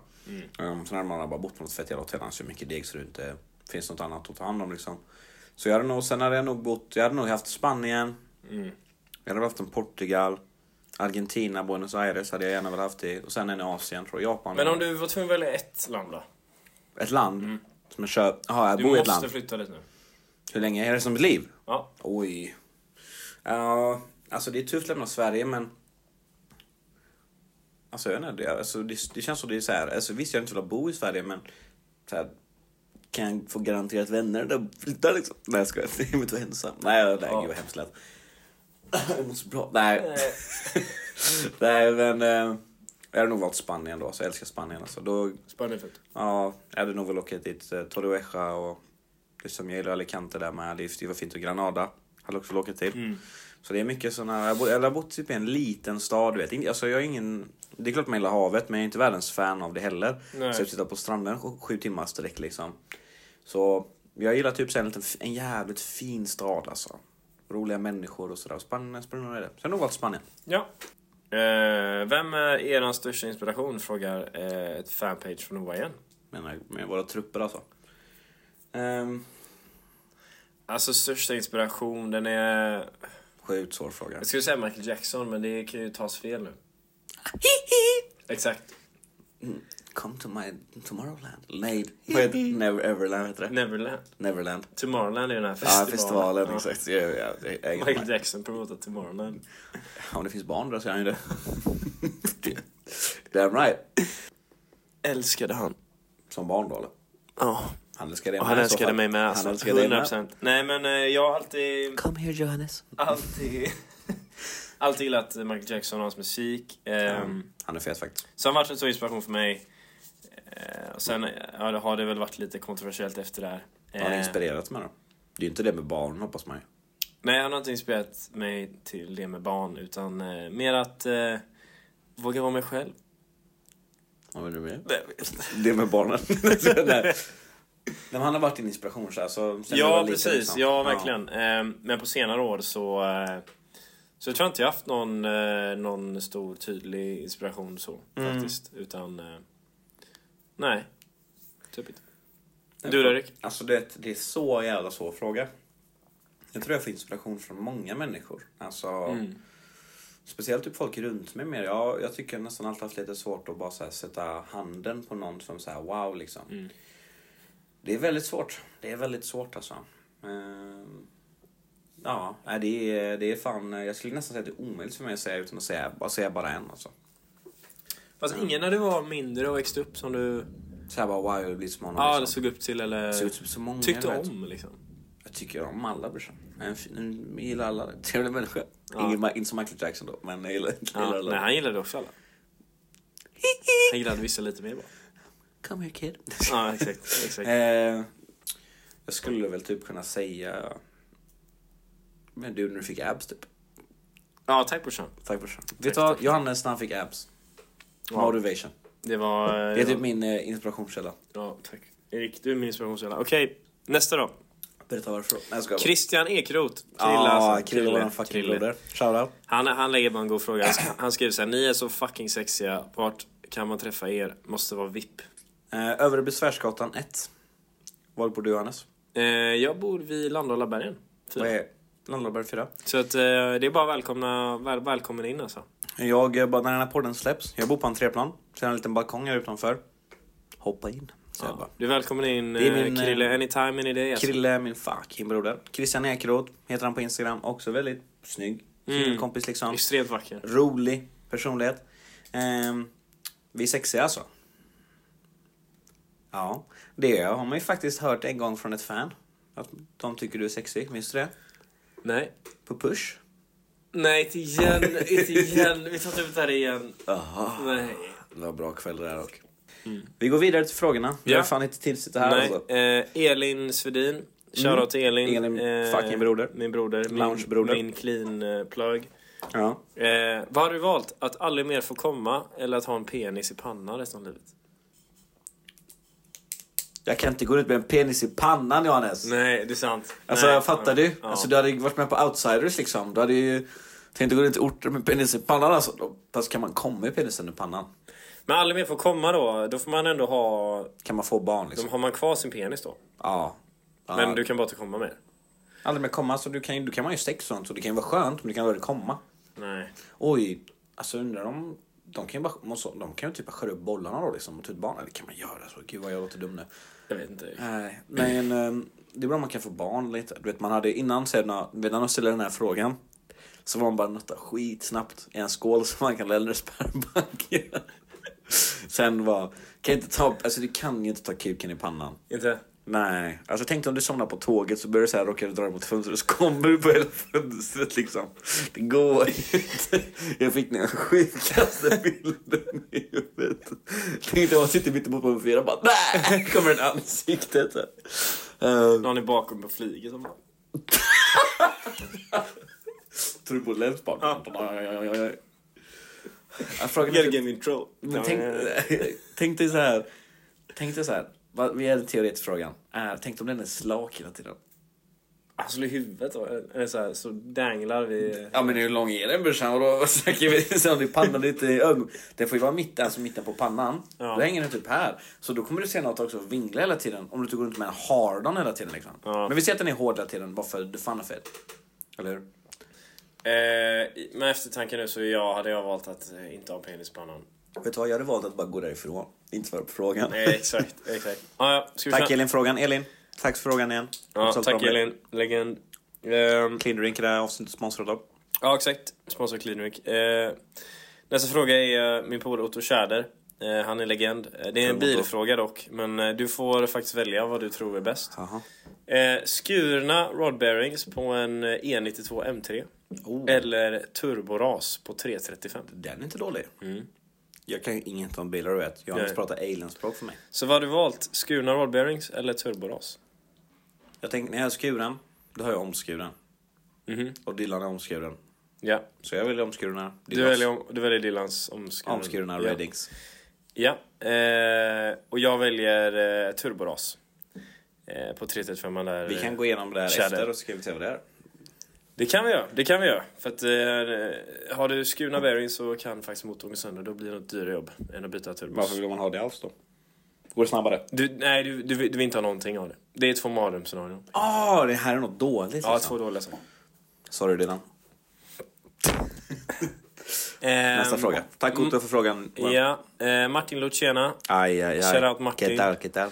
[SPEAKER 2] Mm. Sen hade man bara bott på något fett jävla hotell. Han så mycket deg så det inte finns något annat att ta hand om liksom. Så jag hade nog, sen hade jag nog bott, jag hade nog haft Spanien.
[SPEAKER 1] Mm.
[SPEAKER 2] Jag hade haft en Portugal. Argentina, Buenos Aires hade jag gärna velat haft i. Och sen en i Asien tror jag. Japan.
[SPEAKER 1] Men om du var tvungen att välja ett land då?
[SPEAKER 2] Ett land. Som jag kör, jaha jag
[SPEAKER 1] Du
[SPEAKER 2] bor i ett land.
[SPEAKER 1] måste flytta dit nu.
[SPEAKER 2] Hur länge? Är det som mitt liv?
[SPEAKER 1] Ja.
[SPEAKER 2] Oj. Ja, alltså det är tufft att lämna Sverige men... Alltså jag vet inte, det- alltså, det, det känns som det är så här, alltså visst jag inte vill bo i Sverige men... Så här, kan jag få garanterat vänner där jag flyttar liksom? Nej jag skojar, jag vill inte vara ensam. Nej, nej
[SPEAKER 1] Ja.
[SPEAKER 2] gud vad hemskt [laughs] lätt. Jag mår så bra.
[SPEAKER 1] Eh.
[SPEAKER 2] Nej. nej men... Eh, jag hade nog valt Spanien då, så jag älskar Spanien alltså. Då,
[SPEAKER 1] Spanien fint.
[SPEAKER 2] ja, jag hade nog väl åkt dit, eh, Torrevieja och... Det som jag gillar Alicante där med, det det var fint och Granada. Hade också åkt till. Så det är mycket såna, jag, bo, eller jag har bott typ i en liten stad, du vet. Inte- Alltså jag är ingen, det är klart man gillar havet men jag är inte världens fan av det heller.
[SPEAKER 1] Nej.
[SPEAKER 2] Så jag sitter på stranden sju, sju timmar sträck liksom. Så jag gillar typ så här en, liten, f- en jävligt fin stad alltså. Roliga människor och sådär. Spanien, Spanien är det. Så jag har nog valt Spanien.
[SPEAKER 1] Ja. Eh, vem är er största inspiration? Frågar eh, ett fanpage från Noah igen.
[SPEAKER 2] Menar, med våra trupper alltså. Um,
[SPEAKER 1] Alltså största inspiration, den är...
[SPEAKER 2] sjukt svår fråga.
[SPEAKER 1] Jag skulle säga Michael Jackson, men det kan ju tas fel nu. Exakt.
[SPEAKER 2] Come to my Tomorrowland. Nej, vad heter det? Never Everland heter det.
[SPEAKER 1] Neverland.
[SPEAKER 2] Neverland.
[SPEAKER 1] Tomorrowland är ju den här
[SPEAKER 2] Ja,
[SPEAKER 1] festivalen.
[SPEAKER 2] festivalen
[SPEAKER 1] Ja.
[SPEAKER 2] exakt. Jag, jag, jag, jag, jag, jag,
[SPEAKER 1] Michael Jackson promotar Tomorrowland.
[SPEAKER 2] Om det finns barn där så är han ju det. [laughs] Damn right.
[SPEAKER 1] Älskade han.
[SPEAKER 2] Som barn då eller?
[SPEAKER 1] Ja.
[SPEAKER 2] Han älskar dig
[SPEAKER 1] Och han
[SPEAKER 2] i så
[SPEAKER 1] älskade
[SPEAKER 2] fall.
[SPEAKER 1] mig med alltså.
[SPEAKER 2] Han älskar dig med.
[SPEAKER 1] 100%. Nej men eh, jag har alltid,
[SPEAKER 2] Come here Johannes.
[SPEAKER 1] alltid, [laughs] alltid gillat Michael Jackson och hans musik. Ehm,
[SPEAKER 2] Han är fet faktiskt.
[SPEAKER 1] Så han varit en stor inspiration för mig. Eh, och sen ja, det har det väl varit lite kontroversiellt efter det här.
[SPEAKER 2] Har han
[SPEAKER 1] Eh,
[SPEAKER 2] inspirerat mig då? Det är ju inte det med barn hoppas man ju.
[SPEAKER 1] Nej, han har inte inspirerat mig till det med barn utan eh, mer att eh, våga vara mig själv.
[SPEAKER 2] Vad menar du med det?
[SPEAKER 1] Nej,
[SPEAKER 2] Det med barnen. [laughs] Nej. Nej, men han har varit din inspiration så här, så sen du var
[SPEAKER 1] Ja,
[SPEAKER 2] liten,
[SPEAKER 1] precis.
[SPEAKER 2] liksom.
[SPEAKER 1] Ja, verkligen. Eh, Men på senare år så, eh, så jag tror inte jag haft någon, eh, någon stor tydlig Mm. inspiration så faktiskt. Utan, eh, nej. Typ inte. Du då Erik?
[SPEAKER 2] Alltså det, är ett- det är så jävla svår fråga. Jag tror jag får inspiration från många människor. Alltså,
[SPEAKER 1] Mm.
[SPEAKER 2] Speciellt typ folk runt mig mer. Jag, jag tycker jag nästan alltid haft lite svårt att bara så här, sätta handen på någon som säger wow liksom.
[SPEAKER 1] mm.
[SPEAKER 2] Det är väldigt svårt. Det är väldigt svårt alltså. Ehm, ja, nej, det är, det är fan, jag skulle nästan säga att det är omöjligt för mig att säga utan att säga, bara, säga bara en alltså.
[SPEAKER 1] Fast ingen när du var mindre och växte upp som du
[SPEAKER 2] Så här bara wow, jag blir som honom.
[SPEAKER 1] ja, eller
[SPEAKER 2] liksom.
[SPEAKER 1] såg upp till eller
[SPEAKER 2] Såg ut som så många,
[SPEAKER 1] tyckte
[SPEAKER 2] du vet.
[SPEAKER 1] om liksom?
[SPEAKER 2] Jag tycker om alla brorsan. Jag är en fin- jag gillar alla. Trevlig människa. Ingen, Ma- inte som Michael Jackson då, men jag gillar, jag gillar
[SPEAKER 1] Ja,
[SPEAKER 2] alla.
[SPEAKER 1] nej, han gillade också alla. Han gillade vissa lite mer bara.
[SPEAKER 2] [laughs] Come here kid. [laughs]
[SPEAKER 1] Ja, exakt. exakt.
[SPEAKER 2] eh, jag skulle väl typ kunna säga... Men du, när du fick abs typ.
[SPEAKER 1] Ja, tack brorsan.
[SPEAKER 2] Tack brorsan. Vet du vad? Johannes när han fick abs.
[SPEAKER 1] Ja.
[SPEAKER 2] Motivation.
[SPEAKER 1] Det var...
[SPEAKER 2] Det är typ min eh, inspirationskälla.
[SPEAKER 1] Ja, tack. Erik, du är min inspirationskälla. Okej, nästa då.
[SPEAKER 2] Berätta varför. Nej, jag skojar bara.
[SPEAKER 1] Christian Ekroth. Krille
[SPEAKER 2] Ja,
[SPEAKER 1] alltså.
[SPEAKER 2] Krille var en fucking
[SPEAKER 1] Krille.
[SPEAKER 2] broder. Shoutout.
[SPEAKER 1] Han, han lägger bara en god fråga. Han, sk- han skriver så här, ni är så fucking sexiga. Vart kan man träffa er? Måste vara VIP.
[SPEAKER 2] Eh, Övre Besvärsgatan 1. Var bor du Johannes?
[SPEAKER 1] Eh, jag bor vid Landalabergen. Fyra.
[SPEAKER 2] Vad är Landlåberg 4?
[SPEAKER 1] Så att, eh, det är bara välkomna, väl, välkommen in alltså.
[SPEAKER 2] Jag, eh, bara när den här podden släpps, jag bor på entréplan, så jag har en liten balkong här utanför. Hoppa in, säger jag bara.
[SPEAKER 1] Du är välkommen in
[SPEAKER 2] Det är min,
[SPEAKER 1] eh, Krille,
[SPEAKER 2] eh,
[SPEAKER 1] anytime, any day. Alltså.
[SPEAKER 2] Krille är min fucking broder. Christian Ekeroth heter han på Instagram, också väldigt snygg. Killkompis liksom.
[SPEAKER 1] Extremt vacker.
[SPEAKER 2] Rolig personlighet. Ehm, vi är sexiga alltså. Ja, det har man ju faktiskt hört en gång från ett fan. Att de tycker du är sexig, minns du det?
[SPEAKER 1] Nej.
[SPEAKER 2] På Push.
[SPEAKER 1] Nej, inte igen. Inte igen. Vi tar inte upp det här igen.
[SPEAKER 2] Aha.
[SPEAKER 1] Nej.
[SPEAKER 2] Det var bra kväll det där dock. Vi går vidare till frågorna. Vi
[SPEAKER 1] Ja.
[SPEAKER 2] har fan inte tid att sitta här
[SPEAKER 1] Nej.
[SPEAKER 2] alltså. Mm.
[SPEAKER 1] Eh, Elin Svedin. Shoutout till Elin. Eh,
[SPEAKER 2] Elin, fucking broder.
[SPEAKER 1] Min broder.
[SPEAKER 2] Loungebroder.
[SPEAKER 1] Min, min clean eh, plug.
[SPEAKER 2] Ja.
[SPEAKER 1] Eh, vad har du valt? Att aldrig mer få komma eller att ha en penis i pannan resten av livet?
[SPEAKER 2] Jag kan inte gå ut med en penis i pannan Johannes.
[SPEAKER 1] Nej, det är sant.
[SPEAKER 2] Alltså
[SPEAKER 1] Nej.
[SPEAKER 2] fattar du?
[SPEAKER 1] Ja.
[SPEAKER 2] Alltså, du hade ju varit med på outsiders liksom. Du hade ju tänkt att gå ut till orter med penis i pannan alltså. Då- Fast kan man komma med penisen i pannan?
[SPEAKER 1] Men aldrig mer få komma då. Då får man ändå ha...
[SPEAKER 2] Kan man få barn liksom?
[SPEAKER 1] De har man kvar sin penis då?
[SPEAKER 2] Ja. ja.
[SPEAKER 1] Men du kan bara inte komma mer?
[SPEAKER 2] Aldrig mer komma. Så du kan, ju- du kan man ju sex och sånt. Så det kan ju vara skönt men du kan aldrig komma.
[SPEAKER 1] Nej.
[SPEAKER 2] Oj. Alltså undrar om... De kan ju bara... måste- De kan ju typ bara skära upp bollarna då liksom. Och ta ut barn. Eller kan man göra så? Gud vad jag låter dum nu.
[SPEAKER 1] Jag vet inte.
[SPEAKER 2] Nej, men ehm, det är bra om man kan få barn lite. Du vet, man hade innan, sedan, innan de ställde den här frågan så var man bara nötta skitsnabbt i en skål som man kan lämna i spermbanken. [laughs] Sen var, kan jag inte ta, alltså du kan ju inte ta kuken i pannan.
[SPEAKER 1] Inte?
[SPEAKER 2] Nej, alltså tänk dig om du somnar på tåget så börjar du så här råkar du dra dig mot fönstret och så kommer du på hela fönstret liksom. Det går ju inte. Jag fick den sjukaste bilden i huvudet. Tänk dig man sitter mitt emot på en fyra och bara nej, kommer den i ansiktet. så här. Eh,
[SPEAKER 1] Någon är bakom på flyget som bara...
[SPEAKER 2] Turbulens bara. Jag
[SPEAKER 1] Gotta
[SPEAKER 2] frågade
[SPEAKER 1] get me in trouble.
[SPEAKER 2] typ- Men tänk, tänk dig så här. Tänk dig så här. vad- Vi är teoretisk frågan. Är, tänk om den är slak hela tiden.
[SPEAKER 1] Han slår Alltså, i huvudet då. Eller så, här, så danglar vi...
[SPEAKER 2] Ja men hur lång är den brorsan? Och då [laughs] snackar vi så om det är pannan lite i ögon. Den får ju vara mitten, alltså mitten på pannan.
[SPEAKER 1] Ja.
[SPEAKER 2] Då hänger den typ här. Så då kommer du se något också vingla hela tiden. Om du inte går runt med en hard-on hela tiden liksom.
[SPEAKER 1] Ja.
[SPEAKER 2] Men vi ser att den är hård hela tiden bara för att du fan är fet. Eller hur?
[SPEAKER 1] Eh, med eftertanke nu så jag, hade jag valt att eh, inte ha penis i pannan.
[SPEAKER 2] Vet du vad, jag hade valt att bara gå därifrån. Inte svara på frågan.
[SPEAKER 1] Eh, exakt, exakt. Ah, ja, ska vi
[SPEAKER 2] [laughs] Tack
[SPEAKER 1] köra?
[SPEAKER 2] Elin frågan. Elin, tack för frågan igen.
[SPEAKER 1] Ja,
[SPEAKER 2] Hoppas allt
[SPEAKER 1] tack
[SPEAKER 2] bra med dig.
[SPEAKER 1] Elin. Legend. Ehm,
[SPEAKER 2] Clean Drink är det här avsnittet sponsrat av.
[SPEAKER 1] ja, exakt. Sponsor Cleanwick. Eh, nästa fråga är eh, min polare Otto Tjäder. Eh, han är legend. Eh, det är en
[SPEAKER 2] Otto.
[SPEAKER 1] bilfråga dock, men eh, du får faktiskt välja vad du tror är bäst.
[SPEAKER 2] Jaha.
[SPEAKER 1] Eh, skurna rod bearings på en eh, E92 M3.
[SPEAKER 2] Oh.
[SPEAKER 1] Eller turboras på 335.
[SPEAKER 2] Den är inte dålig. Jag kan ju inget om bilar du vet. Johannes
[SPEAKER 1] Mm. Nej.
[SPEAKER 2] pratar alienspråk för mig.
[SPEAKER 1] Så vad har du valt? Skurna rod bearings eller turboras?
[SPEAKER 2] Jag tänker, när jag är skuren, då har jag omskuren.
[SPEAKER 1] Mhm.
[SPEAKER 2] Och Dylan är omskuren.
[SPEAKER 1] Ja.
[SPEAKER 2] Så jag väljer omskurna.
[SPEAKER 1] Du väljer, om, du väljer Dylans omskurna.
[SPEAKER 2] omskurna
[SPEAKER 1] Ja.
[SPEAKER 2] Reddings.
[SPEAKER 1] Ja, eh, och jag väljer eh, turboras. Eh, på 335 där.
[SPEAKER 2] Vi kan gå igenom det här
[SPEAKER 1] Tjäder.
[SPEAKER 2] efter och så ska vi se vad det är.
[SPEAKER 1] Det kan vi göra, det kan vi göra. För att eh, har du skurna bearings så kan faktiskt motorn gå sönder. Då blir det något dyrare jobb än att byta turbos.
[SPEAKER 2] vill man ha det alls då? Går det snabbare?
[SPEAKER 1] Du, nej, du, du, vill- du vill inte ha någonting av det. Det är två mardrömsscenarion.
[SPEAKER 2] Ah, det här är något dåligt
[SPEAKER 1] Ja,
[SPEAKER 2] liksom.
[SPEAKER 1] två dåliga saker.
[SPEAKER 2] Sa du redan? Nästa
[SPEAKER 1] Ehm,
[SPEAKER 2] fråga. Tack Otto för frågan.
[SPEAKER 1] Ja, eh, Martin Lucena.
[SPEAKER 2] Aj, aj, aj.
[SPEAKER 1] Shoutout Martin.
[SPEAKER 2] Ketal, ketal.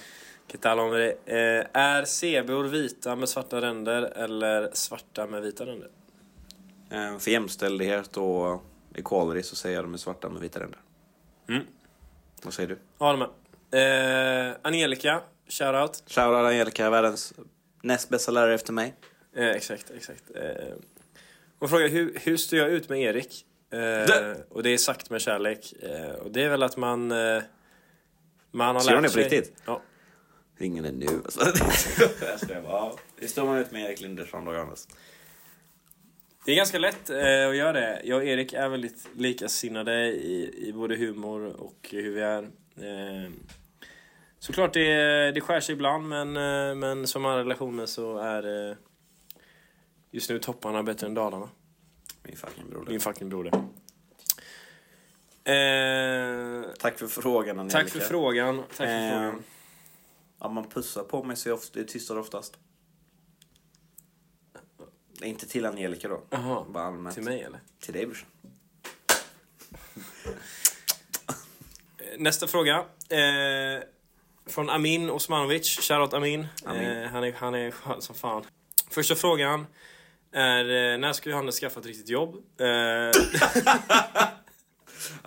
[SPEAKER 1] Kan tala om det. Eh, är zebror vita med svarta ränder eller svarta med vita ränder?
[SPEAKER 2] Eh, För jämställdhet och equality så säger jag de är svarta med vita ränder.
[SPEAKER 1] Mm.
[SPEAKER 2] Vad säger du?
[SPEAKER 1] Ja, de är. Eh, Angelica, shoutout.
[SPEAKER 2] Shoutout Angelica, världens näst bästa lärare efter mig.
[SPEAKER 1] Eh, exakt, exakt. Eh, hon frågar hur, hur står jag ut med Erik? Eh,
[SPEAKER 2] Det-
[SPEAKER 1] och det är sagt med kärlek. Eh, och det är väl att man... Eh, man har
[SPEAKER 2] Ser hon
[SPEAKER 1] lärt
[SPEAKER 2] det på
[SPEAKER 1] sig-
[SPEAKER 2] riktigt?
[SPEAKER 1] Ja.
[SPEAKER 2] Ringer den nu. [laughs] alltså. Jag skojar bara. Ja, Det står man ut med Erik Lindersson då, Johannes.
[SPEAKER 1] Det är ganska lätt eh, att göra det. Jag och Erik är väldigt likasinnade i, i både humor och hur vi är. Eh, såklart det, det skär sig ibland men, eh, men som alla relationer så är eh, just nu topparna bättre än dalarna.
[SPEAKER 2] Min fucking broder.
[SPEAKER 1] Min fucking broder. Eh,
[SPEAKER 2] Tack för frågan Angelica.
[SPEAKER 1] tack för frågan. Tack för
[SPEAKER 2] Eh,
[SPEAKER 1] frågan.
[SPEAKER 2] Ja, man pussar på mig så jag ofta, jag tystar oftast. Inte till Angelica då.
[SPEAKER 1] Jaha,
[SPEAKER 2] Bara allmänt.
[SPEAKER 1] till mig eller?
[SPEAKER 2] Till dig brorsan.
[SPEAKER 1] Eh, Nästa fråga. Eh, från Amin Osmanovic. Shoutout Amin.
[SPEAKER 2] Amin.
[SPEAKER 1] Eh, han, är, han är skön som fan. Första frågan är eh, när ska Johannes skaffa ett riktigt jobb? Eh,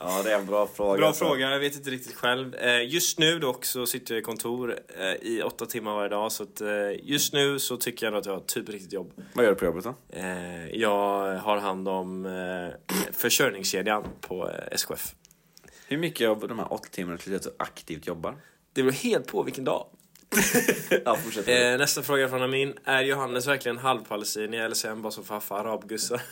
[SPEAKER 2] Ja, det är en bra fråga.
[SPEAKER 1] Bra
[SPEAKER 2] alltså.
[SPEAKER 1] fråga, jag vet inte riktigt själv. Eh, Just nu dock så sitter jag i kontor eh, i åtta timmar varje dag. Så att eh, just nu så tycker jag nog att jag har ett typ riktigt jobb.
[SPEAKER 2] Vad gör du på jobbet då?
[SPEAKER 1] Eh, Jag har hand om eh, försörjningskedjan på eh, SKF.
[SPEAKER 2] Hur mycket av de här åtta timmarna tycker du att du aktivt jobbar?
[SPEAKER 1] Det beror helt på vilken dag.
[SPEAKER 2] Ja, fortsätt.
[SPEAKER 1] Eh, nästa fråga från Amin. Är Johannes verkligen halvpalestinier eller säger han bara som farfar
[SPEAKER 2] [laughs]
[SPEAKER 1] arabgussar?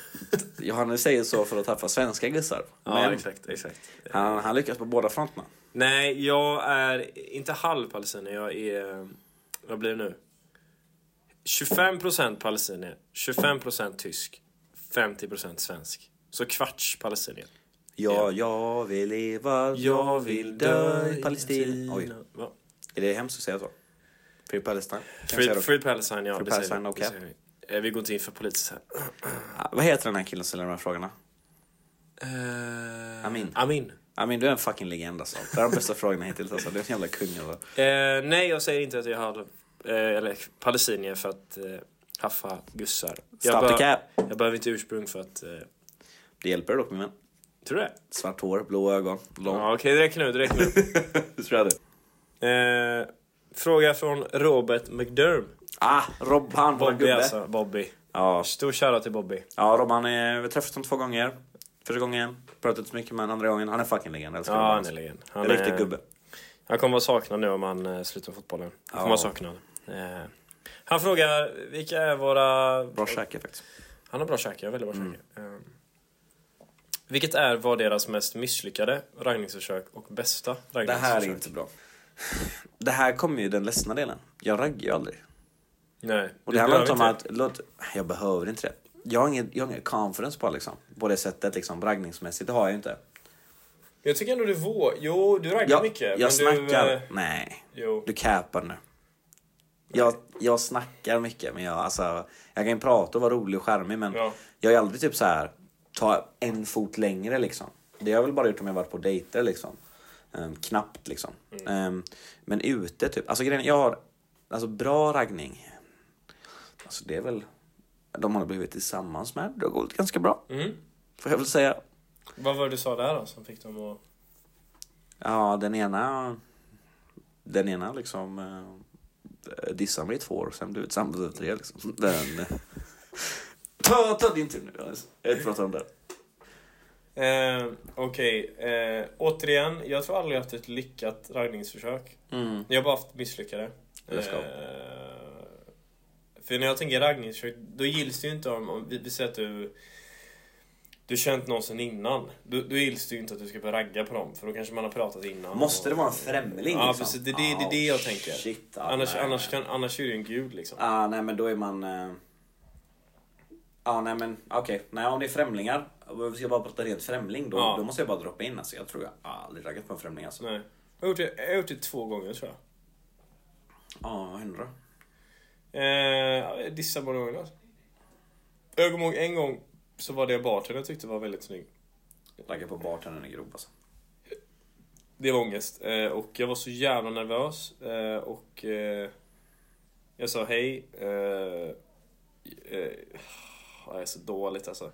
[SPEAKER 2] Johannes säger så för att träffa svenska gussar.
[SPEAKER 1] Ja,
[SPEAKER 2] Men
[SPEAKER 1] exakt, exakt.
[SPEAKER 2] han, han lyckas på båda fronterna.
[SPEAKER 1] Nej, jag är inte halvpalestinier. Jag är... Vad blir det nu? 25% palestinier, 25% tysk, 50% svensk. Så kvarts palestinier.
[SPEAKER 2] Ja, jag vill leva, jag vill dö i Palestina. Oj,
[SPEAKER 1] Va?
[SPEAKER 2] är det hemskt att säga så? Free Palestine? Kan jag säga
[SPEAKER 1] Free,
[SPEAKER 2] då?
[SPEAKER 1] free Palestine, ja.
[SPEAKER 2] Free
[SPEAKER 1] det säger
[SPEAKER 2] Palestine,
[SPEAKER 1] vi, det
[SPEAKER 2] okej.
[SPEAKER 1] säger vi. Eh, Vi går inte in för politiskt här.
[SPEAKER 2] Ja, Ah, Vad heter den här killen som ställer de här frågorna?
[SPEAKER 1] Eh,
[SPEAKER 2] Amin.
[SPEAKER 1] Amin.
[SPEAKER 2] I mean, Ah, du är en fucking legend alltså. Det är de bästa [laughs] frågorna hittills alltså. Du är en jävla kung alltså.
[SPEAKER 1] Eh, nej, jag säger inte att jag har eh, eller palestinier för att eh, haffa gussar. Jag,
[SPEAKER 2] Stop the
[SPEAKER 1] bör-
[SPEAKER 2] cap!
[SPEAKER 1] jag behöver inte ursprung för att... Eh,
[SPEAKER 2] Det hjälper dock min vän.
[SPEAKER 1] tror du det?
[SPEAKER 2] Svart hår, blå ögon, lång.
[SPEAKER 1] Ja, okej, det räcker nu. Det räcker nu.
[SPEAKER 2] Det tror jag det. [laughs]
[SPEAKER 1] Eh, fråga från Robert McDerm.
[SPEAKER 2] Ah, Rob, han var
[SPEAKER 1] Bobby
[SPEAKER 2] gubbe.
[SPEAKER 1] alltså, Bobby.
[SPEAKER 2] Ja,
[SPEAKER 1] Stor shoutout till Bobby.
[SPEAKER 2] Ja, Robban, eh, vi har träffat honom två gånger. Första gången pratade inte så mycket med honom, andra gången. Han är fucking legend. Jag älskar
[SPEAKER 1] Ja,
[SPEAKER 2] honom.
[SPEAKER 1] han är legend. Han
[SPEAKER 2] En riktig
[SPEAKER 1] är-
[SPEAKER 2] gubbe.
[SPEAKER 1] Han kommer vara saknad nu om han eh, slutar fotbollen. Han kommer
[SPEAKER 2] Ja.
[SPEAKER 1] vara saknad. Eh, han frågar vilka är våra...
[SPEAKER 2] Bra käke faktiskt.
[SPEAKER 1] Han har bra käke, väldigt
[SPEAKER 2] Mm.
[SPEAKER 1] bra käke. Eh, vilket är vad deras mest misslyckade raggningsförsök och bästa
[SPEAKER 2] Det här är
[SPEAKER 1] raggningsförsök?
[SPEAKER 2] inte bra. Det här kommer ju den ledsna delen. Jag raggar ju aldrig.
[SPEAKER 1] Nej.
[SPEAKER 2] Och
[SPEAKER 1] du
[SPEAKER 2] det handlar
[SPEAKER 1] behöver
[SPEAKER 2] inte om
[SPEAKER 1] inte.
[SPEAKER 2] att... Låt, jag behöver inte det. Jag har ingen, jag har ingen confidence på, liksom. på det sättet, liksom, raggningsmässigt. Det har jag ju inte.
[SPEAKER 1] Jag tycker ändå du vågar. Jo, du raggar
[SPEAKER 2] Jag,
[SPEAKER 1] mycket.
[SPEAKER 2] jag
[SPEAKER 1] men
[SPEAKER 2] snackar...
[SPEAKER 1] Du, eh,
[SPEAKER 2] Nej.
[SPEAKER 1] jo.
[SPEAKER 2] Du capar nu. Jag, jag snackar mycket, men jag, alltså, jag kan ju prata och vara rolig och charmig men
[SPEAKER 1] Ja.
[SPEAKER 2] jag är aldrig typ så här ta en fot längre liksom. Det har jag väl bara gjort om jag varit på dejter liksom. Ehm, knappt liksom. Ehm, men ute typ. Alltså grejen är, jag har alltså, bra raggning. Alltså det är väl... De har blivit tillsammans med. Det har gått ganska bra.
[SPEAKER 1] Mm.
[SPEAKER 2] Får jag väl säga.
[SPEAKER 1] Vad var det du sa där då som fick dem att...
[SPEAKER 2] Ja, den ena... Den ena liksom... Eh, dissade mig i två år, sen blev vi tillsammans efter det. Liksom. Den, ta, ta din tur nu, Johannes. Jag vill inte prata om det.
[SPEAKER 1] Eh, Okej, eh, återigen. Jag tror aldrig jag haft ett lyckat raggningsförsök.
[SPEAKER 2] Mm.
[SPEAKER 1] Jag har bara haft misslyckade.
[SPEAKER 2] Let's go.
[SPEAKER 1] Eh, för när jag tänker raggningsförsök, då gills det ju inte om, om vi, vi säger att du du känt någon sen innan. Då, då gills det ju inte att du ska börja ragga på dem, för då kanske man har pratat innan.
[SPEAKER 2] Måste det
[SPEAKER 1] och-
[SPEAKER 2] vara en främling?
[SPEAKER 1] Ja,
[SPEAKER 2] liksom?
[SPEAKER 1] precis. Det, det, det är det jag tänker.
[SPEAKER 2] Shit, ja,
[SPEAKER 1] annars,
[SPEAKER 2] nej.
[SPEAKER 1] annars, kan, annars är det ju en gud liksom.
[SPEAKER 2] Ah, nej, men då är man... eh, Ja, nej men okej. Nej, om det är främlingar. Om vi ska bara prata rent främling, då,
[SPEAKER 1] Ja.
[SPEAKER 2] då måste jag bara droppa in. Alltså, jag tror jag aldrig raggat på en främling. Alltså.
[SPEAKER 1] Nej. Jag har gjort det, jag har gjort det två gånger tror jag.
[SPEAKER 2] Ja, vad hände då?
[SPEAKER 1] Eh, jag dissar båda gångerna. alltså. Jag kommer ihåg en gång så var det bartendern jag tyckte var väldigt snygg.
[SPEAKER 2] Raggar på bartendern är grov alltså.
[SPEAKER 1] Det var ångest. Eh, och jag var så jävla nervös. Eh, och eh, jag sa hej. Eh, eh, jag är så dåligt alltså.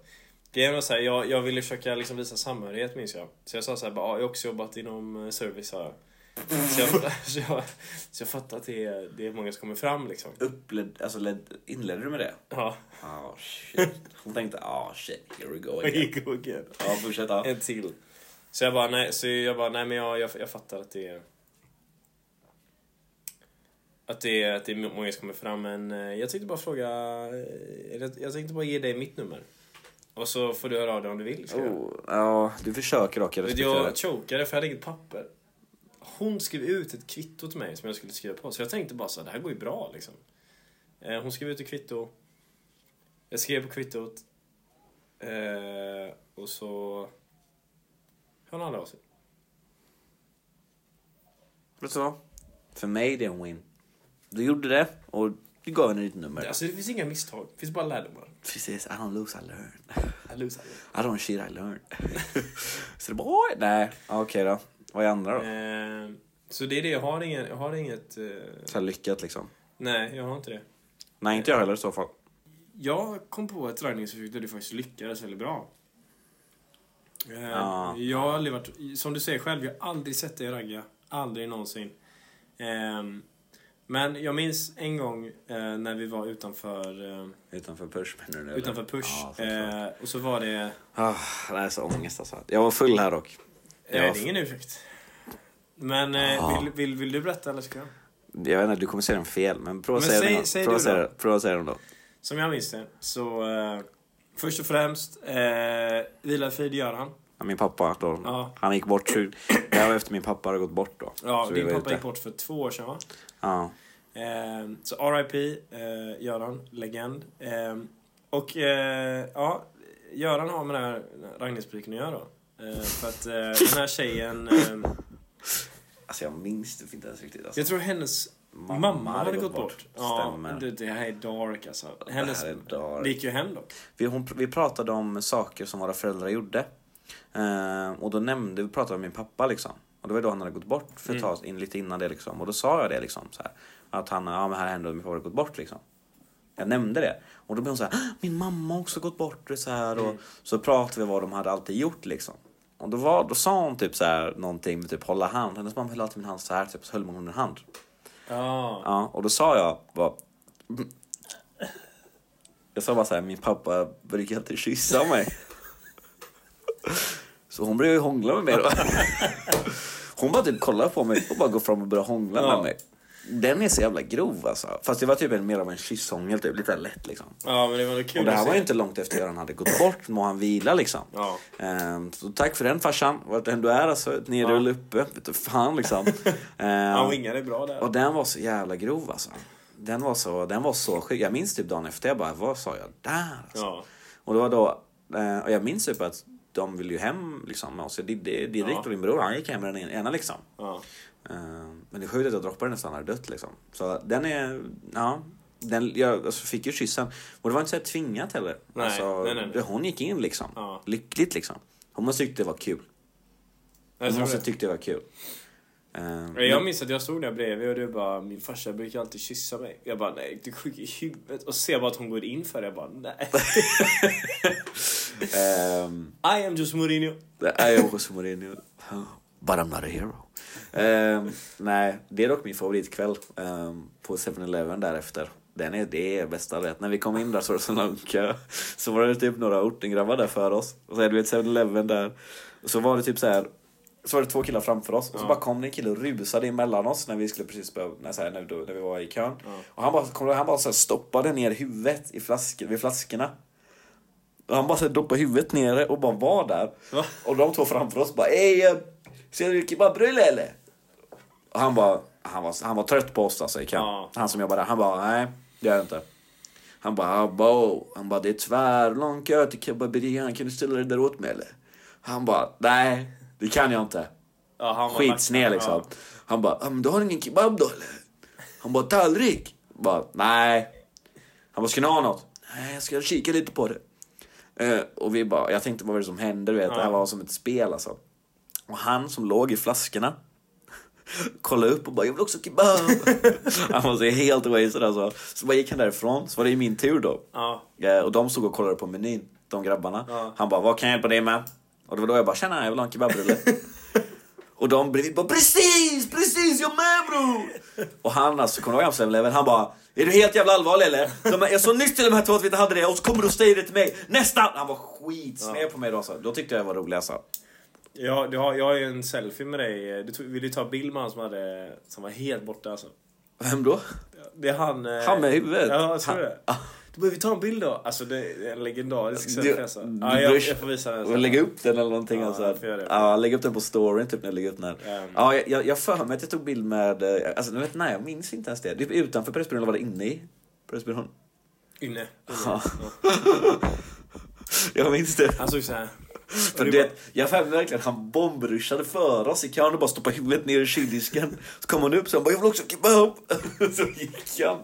[SPEAKER 1] Grejen var så här, jag, jag ville försöka liksom visa samhörighet minns jag. Så jag sa så här, bara, "Ja, jag har också jobbat inom eh, service sa jag. Så jag, [laughs] så jag, så jag fattar att det är, det är många som kommer fram liksom.
[SPEAKER 2] Uppled, alltså led, inledde du med det?
[SPEAKER 1] Ja, [laughs]
[SPEAKER 2] Ah shit. Hon tänkte ah shit, here we go [laughs] again.
[SPEAKER 1] go again.
[SPEAKER 2] Ja, fortsätt. Ja.
[SPEAKER 1] En till. Så jag bara, nej, så jag bara, nej men jag, jag, jag fattar att det är... Att det, är, att det är många som kommer fram, men eh, jag tänkte bara fråga... eh, Jag, jag tänkte bara ge dig mitt nummer. Och så får du höra av dig om du vill. ska jag.
[SPEAKER 2] Oh, ja, du försöker dock. Jag
[SPEAKER 1] Vet du,
[SPEAKER 2] respekterar
[SPEAKER 1] Jag
[SPEAKER 2] det.
[SPEAKER 1] chokade för jag hade inget papper. Hon skrev ut ett kvitto till mig som jag skulle skriva på. Så jag tänkte bara så här, det här går ju bra liksom. Eh, Hon skrev ut ett kvitto. Jag skrev på kvittot. Eh, och så... Hon hade av sig.
[SPEAKER 2] Vet du vad? För mig är det en win. Du gjorde det och du gav henne ditt nummer.
[SPEAKER 1] Alltså det finns inga misstag, det finns bara lärdomar.
[SPEAKER 2] Precis, I don't lose, I learn.
[SPEAKER 1] I lose, I
[SPEAKER 2] I don't shit, I learn. [laughs] så det bara, oj, nej. Ja, Okej då. Vad är andra då?
[SPEAKER 1] lose. Eh, så det är det, jag har, ingen, jag har inget... Eh,
[SPEAKER 2] Så här lyckat liksom.
[SPEAKER 1] nej, jag har inte det.
[SPEAKER 2] Nej, inte jag heller i så fall.
[SPEAKER 1] Jag kom på ett raggningsförsök där du faktiskt lyckades väldigt bra. Eh,
[SPEAKER 2] Ja.
[SPEAKER 1] Jag har aldrig varit, som du säger själv, jag har aldrig sett dig ragga. Aldrig någonsin. Ehm, men jag minns en gång eh, när vi var utanför, eh,
[SPEAKER 2] Utanför push menar du? eller?
[SPEAKER 1] utanför Push.
[SPEAKER 2] Ja, såklart.
[SPEAKER 1] eh, och så var det...
[SPEAKER 2] Ah, det här är så ångest alltså. Jag var full här dock.
[SPEAKER 1] Eh,
[SPEAKER 2] Ja.
[SPEAKER 1] Det är ingen ursäkt. Men eh,
[SPEAKER 2] Ja.
[SPEAKER 1] vill, vill, vill du berätta eller ska jag?
[SPEAKER 2] Jag vet inte, du kommer säga den fel. Men prova att
[SPEAKER 1] Men
[SPEAKER 2] säga
[SPEAKER 1] säg-
[SPEAKER 2] den då.
[SPEAKER 1] säg du då.
[SPEAKER 2] Prova att säga den- Prova att säga den då.
[SPEAKER 1] Som jag minns det, så eh, först och främst, eh, vila i frid gör han.
[SPEAKER 2] Ja, Min pappa då.
[SPEAKER 1] Ja.
[SPEAKER 2] Han gick bort. så- Det här var efter min pappa hade gått bort då.
[SPEAKER 1] Ja,
[SPEAKER 2] Så vi
[SPEAKER 1] din
[SPEAKER 2] var
[SPEAKER 1] pappa
[SPEAKER 2] ute.
[SPEAKER 1] gick bort för två år sedan va?
[SPEAKER 2] Ja.
[SPEAKER 1] Eh, så RIP, eh, Göran, legend. Eh, och eh, ja, Göran har med den här raggningspiken att göra då. Eh, för att eh, den här tjejen, eh,
[SPEAKER 2] Alltså jag minns det inte ens riktigt. Alltså.
[SPEAKER 1] jag tror hennes mamma, hade gått bort. Ja,
[SPEAKER 2] Stämmer.
[SPEAKER 1] det, det här är dark alltså.
[SPEAKER 2] Det här
[SPEAKER 1] Hennes,
[SPEAKER 2] är dark.
[SPEAKER 1] det gick ju hem dock.
[SPEAKER 2] Vi, hon, vi pratade om saker som våra föräldrar gjorde. Eh, och då nämnde vi pratade om min pappa liksom. Och det var då han hade gått bort för ett tag in, lite innan det liksom. Och då sa jag det liksom så här. Att han, ja men här hände det, min pappa hade gått bort liksom. Jag nämnde det. Och då blev hon så här, "Ah, min mamma har också gått bort och så här. Och så pratade vi vad de hade alltid gjort liksom. Och då, var, då sa hon typ så här någonting med typ hålla hand. Hennes mamma höll alltid min hand så här typ. Så höll hon min hand.
[SPEAKER 1] Ja,
[SPEAKER 2] Ja, och då sa jag bara... "Mm." Jag sa bara så här, min pappa brukar alltid kyssa mig. Så hon började ju hångla med mig då. Hon bara typ kollar på mig och bara går fram och börjar hångla
[SPEAKER 1] Ja.
[SPEAKER 2] med mig. Den är så jävla grov alltså. Fast det var typ en, mer av en kysshångel, typ. lite lätt liksom.
[SPEAKER 1] ja men det var väl kul
[SPEAKER 2] Och det här
[SPEAKER 1] att se.
[SPEAKER 2] var ju inte långt efter Göran hade gått bort, må han vila liksom.
[SPEAKER 1] Ja.
[SPEAKER 2] Ehm, Så tack för den farsan, vart än du är alltså, nere
[SPEAKER 1] Ja.
[SPEAKER 2] eller uppe, vet du fan liksom.
[SPEAKER 1] [laughs] Han
[SPEAKER 2] Ehm,
[SPEAKER 1] wingade bra där.
[SPEAKER 2] och den var så jävla grov alltså. Den var så, den var så sjuk. Jag minns typ dagen efter, jag bara, vad sa jag där? Alltså.
[SPEAKER 1] Ja.
[SPEAKER 2] Och det var då, eh, och jag minns typ att de ville ju hem liksom med oss. Det, det, direkt
[SPEAKER 1] Ja.
[SPEAKER 2] och din bror, han gick hem med den ena liksom.
[SPEAKER 1] Ja.
[SPEAKER 2] Eh, Men det är sjukt att jag droppade den nästan, han hade dött liksom. Så den är, ja. Den, jag alltså, fick ju kyssen. Och det var inte så här tvingat heller.
[SPEAKER 1] Nej,
[SPEAKER 2] alltså,
[SPEAKER 1] nej, nej, nej.
[SPEAKER 2] Hon gick in liksom.
[SPEAKER 1] Ja.
[SPEAKER 2] Lyckligt liksom. Hon måste tyckt det var kul.
[SPEAKER 1] Jag
[SPEAKER 2] Hon
[SPEAKER 1] tror
[SPEAKER 2] måste
[SPEAKER 1] det.
[SPEAKER 2] tyckt det var kul. Eh,
[SPEAKER 1] Men Jag minns att jag stod där bredvid och du bara min farsa brukar alltid kyssa mig. Jag bara nej, du är sjuk i huvudet. Och ser bara att hon går in för det. Jag bara nej.
[SPEAKER 2] ehm,
[SPEAKER 1] I am just Mourinho.
[SPEAKER 2] Det är ju José Mourinho. But I'm not a hero. Ehm, nej, det är dock min favoritkväll ehm, på 7-Eleven därefter. Den är, det är bästa vet. När vi kom in där så var det så lång kö. Så var det typ några ortengrabbar där för oss. Och så hade vi ett 7-Eleven där. Och så var det typ så här. Så var det två killar framför oss och så
[SPEAKER 1] Ja.
[SPEAKER 2] bara kom det en kille och rusade emellan oss när vi skulle precis börja, när, så här, när, vi, då- när vi var i kön. Och han bara, kom, han bara så här, stoppade ner huvudet i flask, vid flaskorna. Och han bara så här, doppade huvudet nere och bara var där.
[SPEAKER 1] Va?
[SPEAKER 2] Och de två framför oss bara Ey, eh, ser du kebabrulle eller? Och han bara, han var, han var trött på oss alltså i camp.
[SPEAKER 1] Ja.
[SPEAKER 2] Han som jobbade där, han bara nej, det gör jag inte. Han bara abbo, han bara det är tvärlång kö till kebaberian, kan du ställa dig där åt mig eller? Han bara nej, det kan jag inte.
[SPEAKER 1] Ja, han var
[SPEAKER 2] skitsned
[SPEAKER 1] vacker,
[SPEAKER 2] liksom.
[SPEAKER 1] ja.
[SPEAKER 2] Han bara, "Ah, men du har ingen kebab då eller? Han bara, tallrik? Bara, nej. Han bara, ska ni ha något? Nej, jag ska kika lite på det. Eh, och vi bara, jag tänkte vad var det som hände du vet, det här var som ett spel alltså. Och han som låg i flaskorna [laughs] kollade upp och bara, jag vill också kebab. [laughs] han var så helt wasted alltså. Så bara gick han därifrån, så var det ju min tur då.
[SPEAKER 1] Ja.
[SPEAKER 2] Eh, Och de stod och kollade på menyn, de grabbarna.
[SPEAKER 1] Ja.
[SPEAKER 2] Han bara, vad kan jag hjälpa dig med? Och det var då jag bara, tjena, jag vill ha en kebabrulle. och de bredvid bara, precis, precis, jag med bror! och han alltså, kommer du ihåg han level Han bara, är du helt jävla allvarlig eller? De, bara, jag sa nyss till de här två att vi inte hade det och så kommer du och säger det till mig, nästa! Han var skitsned på mig då alltså. Då tyckte jag jag var rolig alltså.
[SPEAKER 1] Ja, du har, jag har ju en selfie med dig. Du tog, vill du ta bild med han som, hade, som var helt borta alltså?
[SPEAKER 2] Vem då?
[SPEAKER 1] Det är han... eh,
[SPEAKER 2] Han med huvudet?
[SPEAKER 1] Ja, jag tror det.
[SPEAKER 2] Ah.
[SPEAKER 1] Du behöver ta en bild då. Alltså det är en legendarisk
[SPEAKER 2] Du-
[SPEAKER 1] selfie alltså.
[SPEAKER 2] du
[SPEAKER 1] Ja, jag,
[SPEAKER 2] bryr-
[SPEAKER 1] jag får visa den
[SPEAKER 2] och lägga upp den eller någonting.
[SPEAKER 1] Ja,
[SPEAKER 2] alltså.
[SPEAKER 1] jag får göra det.
[SPEAKER 2] ja, lägga upp den på storyn typ när jag lägger upp den här.
[SPEAKER 1] Ehm.
[SPEAKER 2] Ja, jag- jag, jag för mig att jag tog bild med, eh, alltså, nu vet, nej jag minns inte ens det. Typ utanför Pressbyrån eller var det inne i Pressbyrån?
[SPEAKER 1] Inne. Inne.
[SPEAKER 2] Ja. [laughs]
[SPEAKER 1] Ja.
[SPEAKER 2] Jag minns det.
[SPEAKER 1] Han såg så här. Mm,
[SPEAKER 2] För du vet, jag för mig verkligen att han bombrushade före oss i kön och bara stoppade huvudet ner i kyldisken. Så kom han upp så han bara jag vill också ha kebab. [laughs] Så gick han.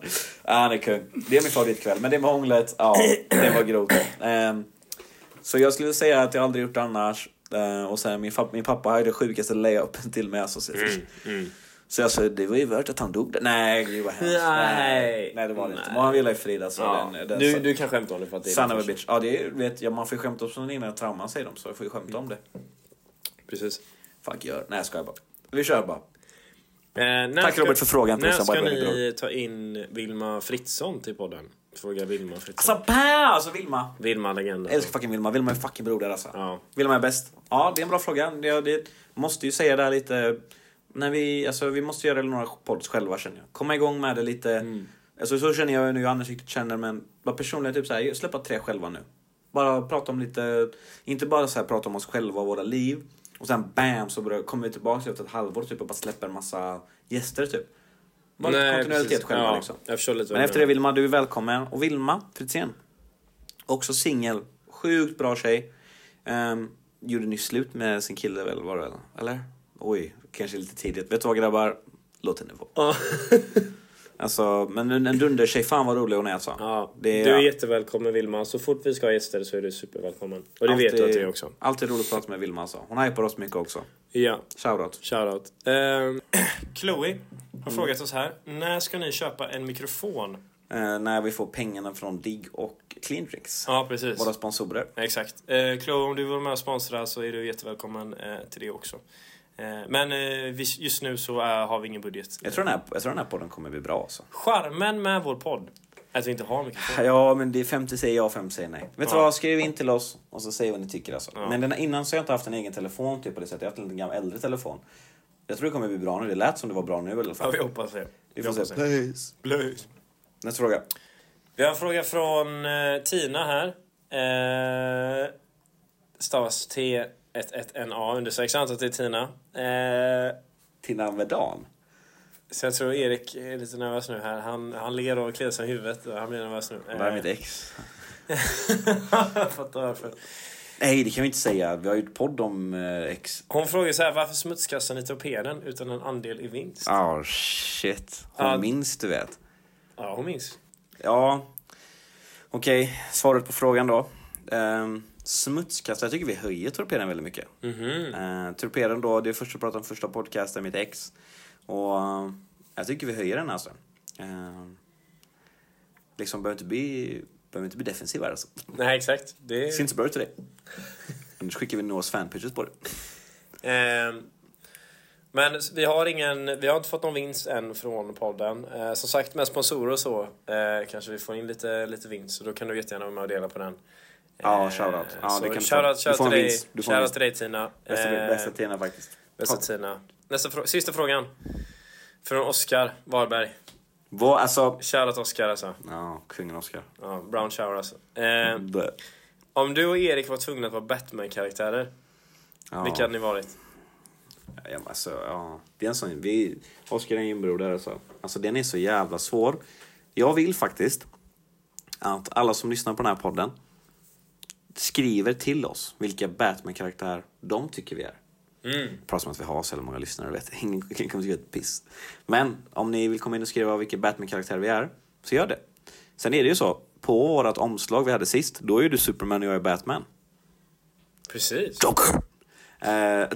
[SPEAKER 2] Ja, han är kung. Det är min favoritkväll. Men det med hånglet, ja det var grovt. Ehm, så jag skulle säga att jag aldrig gjort det annars. Ehm, och sen min, fap- min pappa hade det sjukaste layupen till mig. Alltså, så,
[SPEAKER 1] Mm,
[SPEAKER 2] så jag sa det var ju värt att han dog där. Nej gud vad hemskt.
[SPEAKER 1] Nej.
[SPEAKER 2] Nej det var det inte.
[SPEAKER 1] Nej.
[SPEAKER 2] Men han ville ju frida så
[SPEAKER 1] Ja.
[SPEAKER 2] den, den
[SPEAKER 1] Du,
[SPEAKER 2] satt-
[SPEAKER 1] du kan skämta om det för att det är
[SPEAKER 2] Son
[SPEAKER 1] din
[SPEAKER 2] of a
[SPEAKER 1] farsa.
[SPEAKER 2] bitch. Ja, det är, vet jag, man får ju skämta om sina egna trauman säger de, så jag får ju skämta om det.
[SPEAKER 1] Precis.
[SPEAKER 2] Fuck gör. Nej, jag skojar bara. Vi kör bara.
[SPEAKER 1] Eh, när
[SPEAKER 2] Tack, Robert, för frågan.
[SPEAKER 1] När
[SPEAKER 2] Tusen,
[SPEAKER 1] ska
[SPEAKER 2] by the way,
[SPEAKER 1] ni ta in Vilma Fritzson till podden? Fråga Vilma Fritzson.
[SPEAKER 2] Alltså, pä! Alltså Vilma.
[SPEAKER 1] Vilma legenden.
[SPEAKER 2] Jag älskar fucking Vilma. Vilma är fucking broder alltså.
[SPEAKER 1] Ja.
[SPEAKER 2] Vilma är bäst. Ja, det är en bra fråga. Det, det måste ju säga det här lite... När vi, alltså, vi måste göra några pods själva känner jag. Komma igång med det lite.
[SPEAKER 1] Mm.
[SPEAKER 2] Alltså, så känner jag ju nu, Anders riktigt känner men bara personligen typ så här, släppa tre själva nu. Bara prata om lite, inte bara så här, prata om oss själva och våra liv. Och sen bam så börjar, kommer vi tillbaka efter ett halvår typ, och bara släpper en massa gäster typ. Bara lite kontinuitet
[SPEAKER 1] precis.
[SPEAKER 2] själva
[SPEAKER 1] ja,
[SPEAKER 2] liksom.
[SPEAKER 1] Jag förstår lite vad
[SPEAKER 2] Men
[SPEAKER 1] du
[SPEAKER 2] efter det
[SPEAKER 1] menar.
[SPEAKER 2] Vilma, du är välkommen. Och Vilma Fritzén. Också singel. Sjukt bra tjej. Um, gjorde nyss slut med sin kille väl, var det väl? Eller? Oj, kanske lite tidigt. Vet du vad grabbar? Låt henne vara.
[SPEAKER 1] Ja.
[SPEAKER 2] Alltså, men en, en dundertjej. Fan vad rolig hon är alltså.
[SPEAKER 1] Ja,
[SPEAKER 2] Det är-
[SPEAKER 1] du är jättevälkommen Vilma. Så fort vi ska ha gäster så är du supervälkommen. Och det vet du att du är också.
[SPEAKER 2] Alltid roligt att prata med Vilma alltså. Hon hypar oss mycket också.
[SPEAKER 1] Ja,
[SPEAKER 2] Shoutout.
[SPEAKER 1] shoutout. Ehm, Mm. Chloe har frågat oss här. När ska ni köpa en mikrofon?
[SPEAKER 2] Eh, när vi får pengarna från Digg och Clean Drinks.
[SPEAKER 1] Ja, precis.
[SPEAKER 2] Våra sponsorer.
[SPEAKER 1] Exakt. Eh, Chloe, om du vill med och sponsra så är du jättevälkommen eh, till det också. Eh, men eh, vi, just nu så eh, har vi ingen budget.
[SPEAKER 2] Jag tror, den här, jag tror den här podden kommer bli bra alltså.
[SPEAKER 1] Charmen med vår podd är att vi inte har mikrofon.
[SPEAKER 2] Ja, men det är 50 säger ja, 50 säger nej. Vet du
[SPEAKER 1] Ja.
[SPEAKER 2] vad, skriv in till oss och så säg vad ni tycker alltså.
[SPEAKER 1] Ja.
[SPEAKER 2] Men den, innan så har jag inte haft en egen telefon typ på det sättet. Jag har haft en liten gammal äldre telefon. Jag tror det kommer bli bra nu. Det lät som det var bra nu i alla
[SPEAKER 1] Ja,
[SPEAKER 2] fall.
[SPEAKER 1] vi hoppas det.
[SPEAKER 2] Vi får
[SPEAKER 1] hoppas
[SPEAKER 2] se.
[SPEAKER 1] det.
[SPEAKER 2] Please. Nästa fråga.
[SPEAKER 1] Vi har en fråga från eh, Tina här. Eh, stavas T11NA understreck, så jag antar att det är Tina. Eh,
[SPEAKER 2] Tina Medan.
[SPEAKER 1] så jag tror Erik är lite nervös nu här. Han, han ler och kliar sig i huvudet. Han blir nervös nu. Eh,
[SPEAKER 2] Det här är mitt ex.
[SPEAKER 1] [laughs] jag fattar varför.
[SPEAKER 2] Nej, det kan vi inte säga. Vi har ju ett podd om eh, ex.
[SPEAKER 1] Hon frågar så här, varför smutskastar ni torpeden utan en andel i vinst? Ja,
[SPEAKER 2] Ah shit. Hon
[SPEAKER 1] Ja.
[SPEAKER 2] minns, du vet.
[SPEAKER 1] hon minns.
[SPEAKER 2] Ja. Okej, svaret på frågan då. Um, smutskastare. Jag tycker vi höjer torpeden väldigt mycket.
[SPEAKER 1] Mhm.
[SPEAKER 2] Eh, torpeden då, det är första pratade om första podcasten, mitt ex. Och eh, jag tycker vi höjer den alltså. Eh, liksom behöver inte bli, behöver inte bli defensiva här, alltså.
[SPEAKER 1] Nej, exakt. Det
[SPEAKER 2] Ser inte så bra ut till dig. Annars skickar vi några fanpitches på det.
[SPEAKER 1] Ehm, Men vi har, ingen, vi har inte fått någon vinst än från podden. Eh, som sagt, med sponsorer och så eh, kanske vi får in lite, lite vinst. Så då kan du jättegärna vara med och dela på den.
[SPEAKER 2] Ja,
[SPEAKER 1] Eh,
[SPEAKER 2] shoutout. Ja,
[SPEAKER 1] så
[SPEAKER 2] det kan du få.
[SPEAKER 1] shoutout,
[SPEAKER 2] Du får
[SPEAKER 1] shoutout
[SPEAKER 2] en
[SPEAKER 1] till dig,
[SPEAKER 2] vinst. Du får en
[SPEAKER 1] shoutout
[SPEAKER 2] vinst.
[SPEAKER 1] till dig Tina.
[SPEAKER 2] Bästa,
[SPEAKER 1] Eh,
[SPEAKER 2] bästa Tina faktiskt.
[SPEAKER 1] bästa
[SPEAKER 2] Ta-
[SPEAKER 1] Tina. Nästa frå- sista frågan. Från Oskar Wahlberg.
[SPEAKER 2] Vad, alltså...
[SPEAKER 1] Shoutout Oskar alltså.
[SPEAKER 2] Ja, kungen Oscar.
[SPEAKER 1] Ja, brown shower alltså. Eh,
[SPEAKER 2] Bö.
[SPEAKER 1] Om du och Erik var tvungna att vara Batman-karaktärer,
[SPEAKER 2] Ja.
[SPEAKER 1] vilka hade ni varit?
[SPEAKER 2] Ja, men alltså, ja. Det är en sån, vi, Oskar är en broder alltså. Alltså den är så jävla svår. Jag vill faktiskt att alla som lyssnar på den här podden skriver till oss vilka Batman-karaktär de tycker vi är.
[SPEAKER 1] Mm.
[SPEAKER 2] Pratar som att vi har så jävla många lyssnare, vet [laughs] jag. ingen ingen kommer tycka ett piss. Men om ni vill komma in och skriva vilka Batman-karaktär vi är, så gör det. Sen är det ju så, på vårt omslag vi hade sist, då är ju du Superman och jag är Batman.
[SPEAKER 1] Precis.
[SPEAKER 2] Dock! Eh,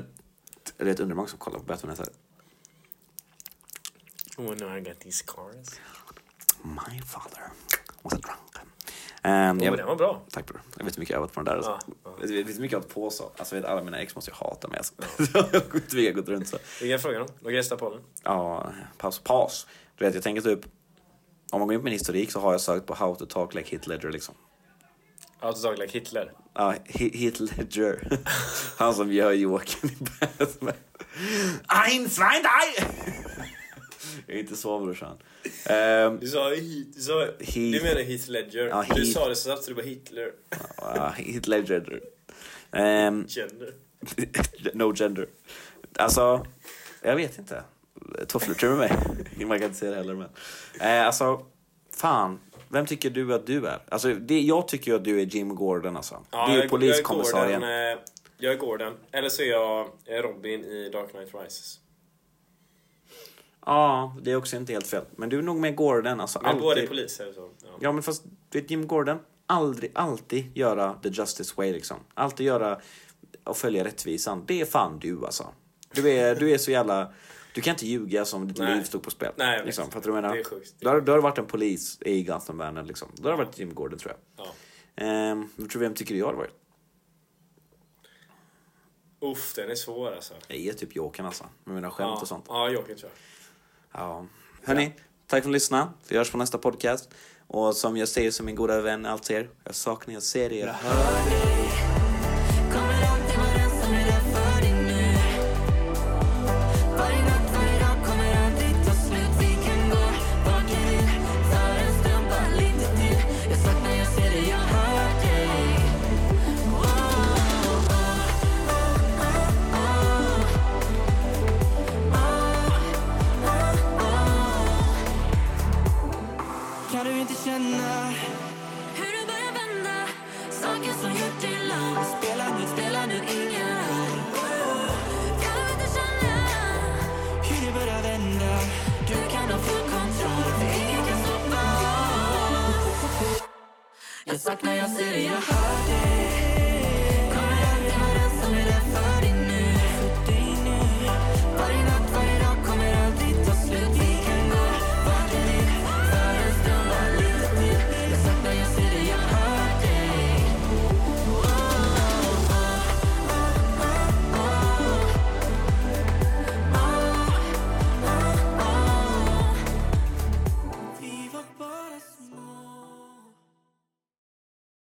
[SPEAKER 2] det är ett undermag som kollar på Batman alltså. här.
[SPEAKER 1] Oh, no, I got these cars.
[SPEAKER 2] My father was a drunk. Ehm,
[SPEAKER 1] Oh,
[SPEAKER 2] jag-
[SPEAKER 1] Den var bra.
[SPEAKER 2] Tack bror. Jag vet hur mycket jag har övat på den där. Alltså.
[SPEAKER 1] Ja, ja.
[SPEAKER 2] Jag vet hur mycket jag har övat på så. Alltså, jag vet, alla mina ex måste ju hata mig. Alltså. [laughs] jag har inte velat gå runt så.
[SPEAKER 1] Vi kan fråga dem. De kan gästa podden.
[SPEAKER 2] Ja, paus, paus. Du vet, jag tänker typ. Om man går in på min historik så har jag sökt på how to talk like Hitler liksom.
[SPEAKER 1] Autotag like Hitler.
[SPEAKER 2] Ja, Hi- Hitler. [laughs] Han som gör Joakim i Batman. Ein, zwei, drei! [laughs] jag är inte så brorsan. Ehm,
[SPEAKER 1] Du sa, hit, du, sa
[SPEAKER 2] Heath.
[SPEAKER 1] du menar Heath Ledger.
[SPEAKER 2] Ja,
[SPEAKER 1] du
[SPEAKER 2] Heath.
[SPEAKER 1] sa det så satte du på Hitler.
[SPEAKER 2] ja, Hitler. Gender. Ehm,
[SPEAKER 1] Gender.
[SPEAKER 2] [laughs] no gender. Alltså, jag vet inte. Tofflor med mig. Man kan inte säga det heller. Men. Eh, alltså, fan. Vem tycker du att du är? Alltså, det, jag tycker ju att du är Jim Gordon. Alltså. du är
[SPEAKER 1] jag- Jag
[SPEAKER 2] poliskommissarien.
[SPEAKER 1] är, Gordon, eh, jag är Gordon. Eller så är jag eh, Robin i Dark Knight Rises.
[SPEAKER 2] Ja, det är också inte helt fel. Men du är nog mer Gordon. Alltså,
[SPEAKER 1] Men
[SPEAKER 2] alltid...
[SPEAKER 1] båda är poliser. och Så. Ja.
[SPEAKER 2] Ja, men fast du vet Jim Gordon, aldrig, alltid göra the justice way liksom. Alltid göra och följa rättvisan. Det är fan du alltså. Du är, du är så jävla... Du kan inte ljuga som ditt
[SPEAKER 1] Nej.
[SPEAKER 2] liv stod på spel.
[SPEAKER 1] Nej, jag vet.
[SPEAKER 2] liksom, för att du menar,
[SPEAKER 1] Det är sjukt.
[SPEAKER 2] Då har, då har du varit en polis i Gothamvärlden liksom. Då har du varit Jim Gordon tror jag.
[SPEAKER 1] Ja.
[SPEAKER 2] Ehm, vad tror du, vem tycker du jag har varit?
[SPEAKER 1] Uff, den är svår alltså.
[SPEAKER 2] Jag är typ Jokern alltså. Med mina skämt
[SPEAKER 1] Ja,
[SPEAKER 2] och sånt.
[SPEAKER 1] Ja, Joker tror jag.
[SPEAKER 2] Ja. Hörni, tack för att ni lyssnade. Vi hörs på nästa podcast. Och som jag säger som min goda vän Altair, jag saknar er, jag ser er, jag hör
[SPEAKER 3] Kommer alltid vara som jag är för dig nu Varje natt, varje dag kommer aldrig ta slut Vi kan gå vart vi vill Tar en stund, bara lite till Jag saknar, jag ser dig, jag hör dig Oh, oh, oh, oh. Oh, oh, oh. Kan du inte känna hur du börjar vända Saker som gjort dig lam Spelar nu, spelar nu ingen roll Kan du inte känna Hur du börjar vända Du kan ha full kontroll För ingen kan stoppa oss Jag saknar, jag ser dig, jag hör dig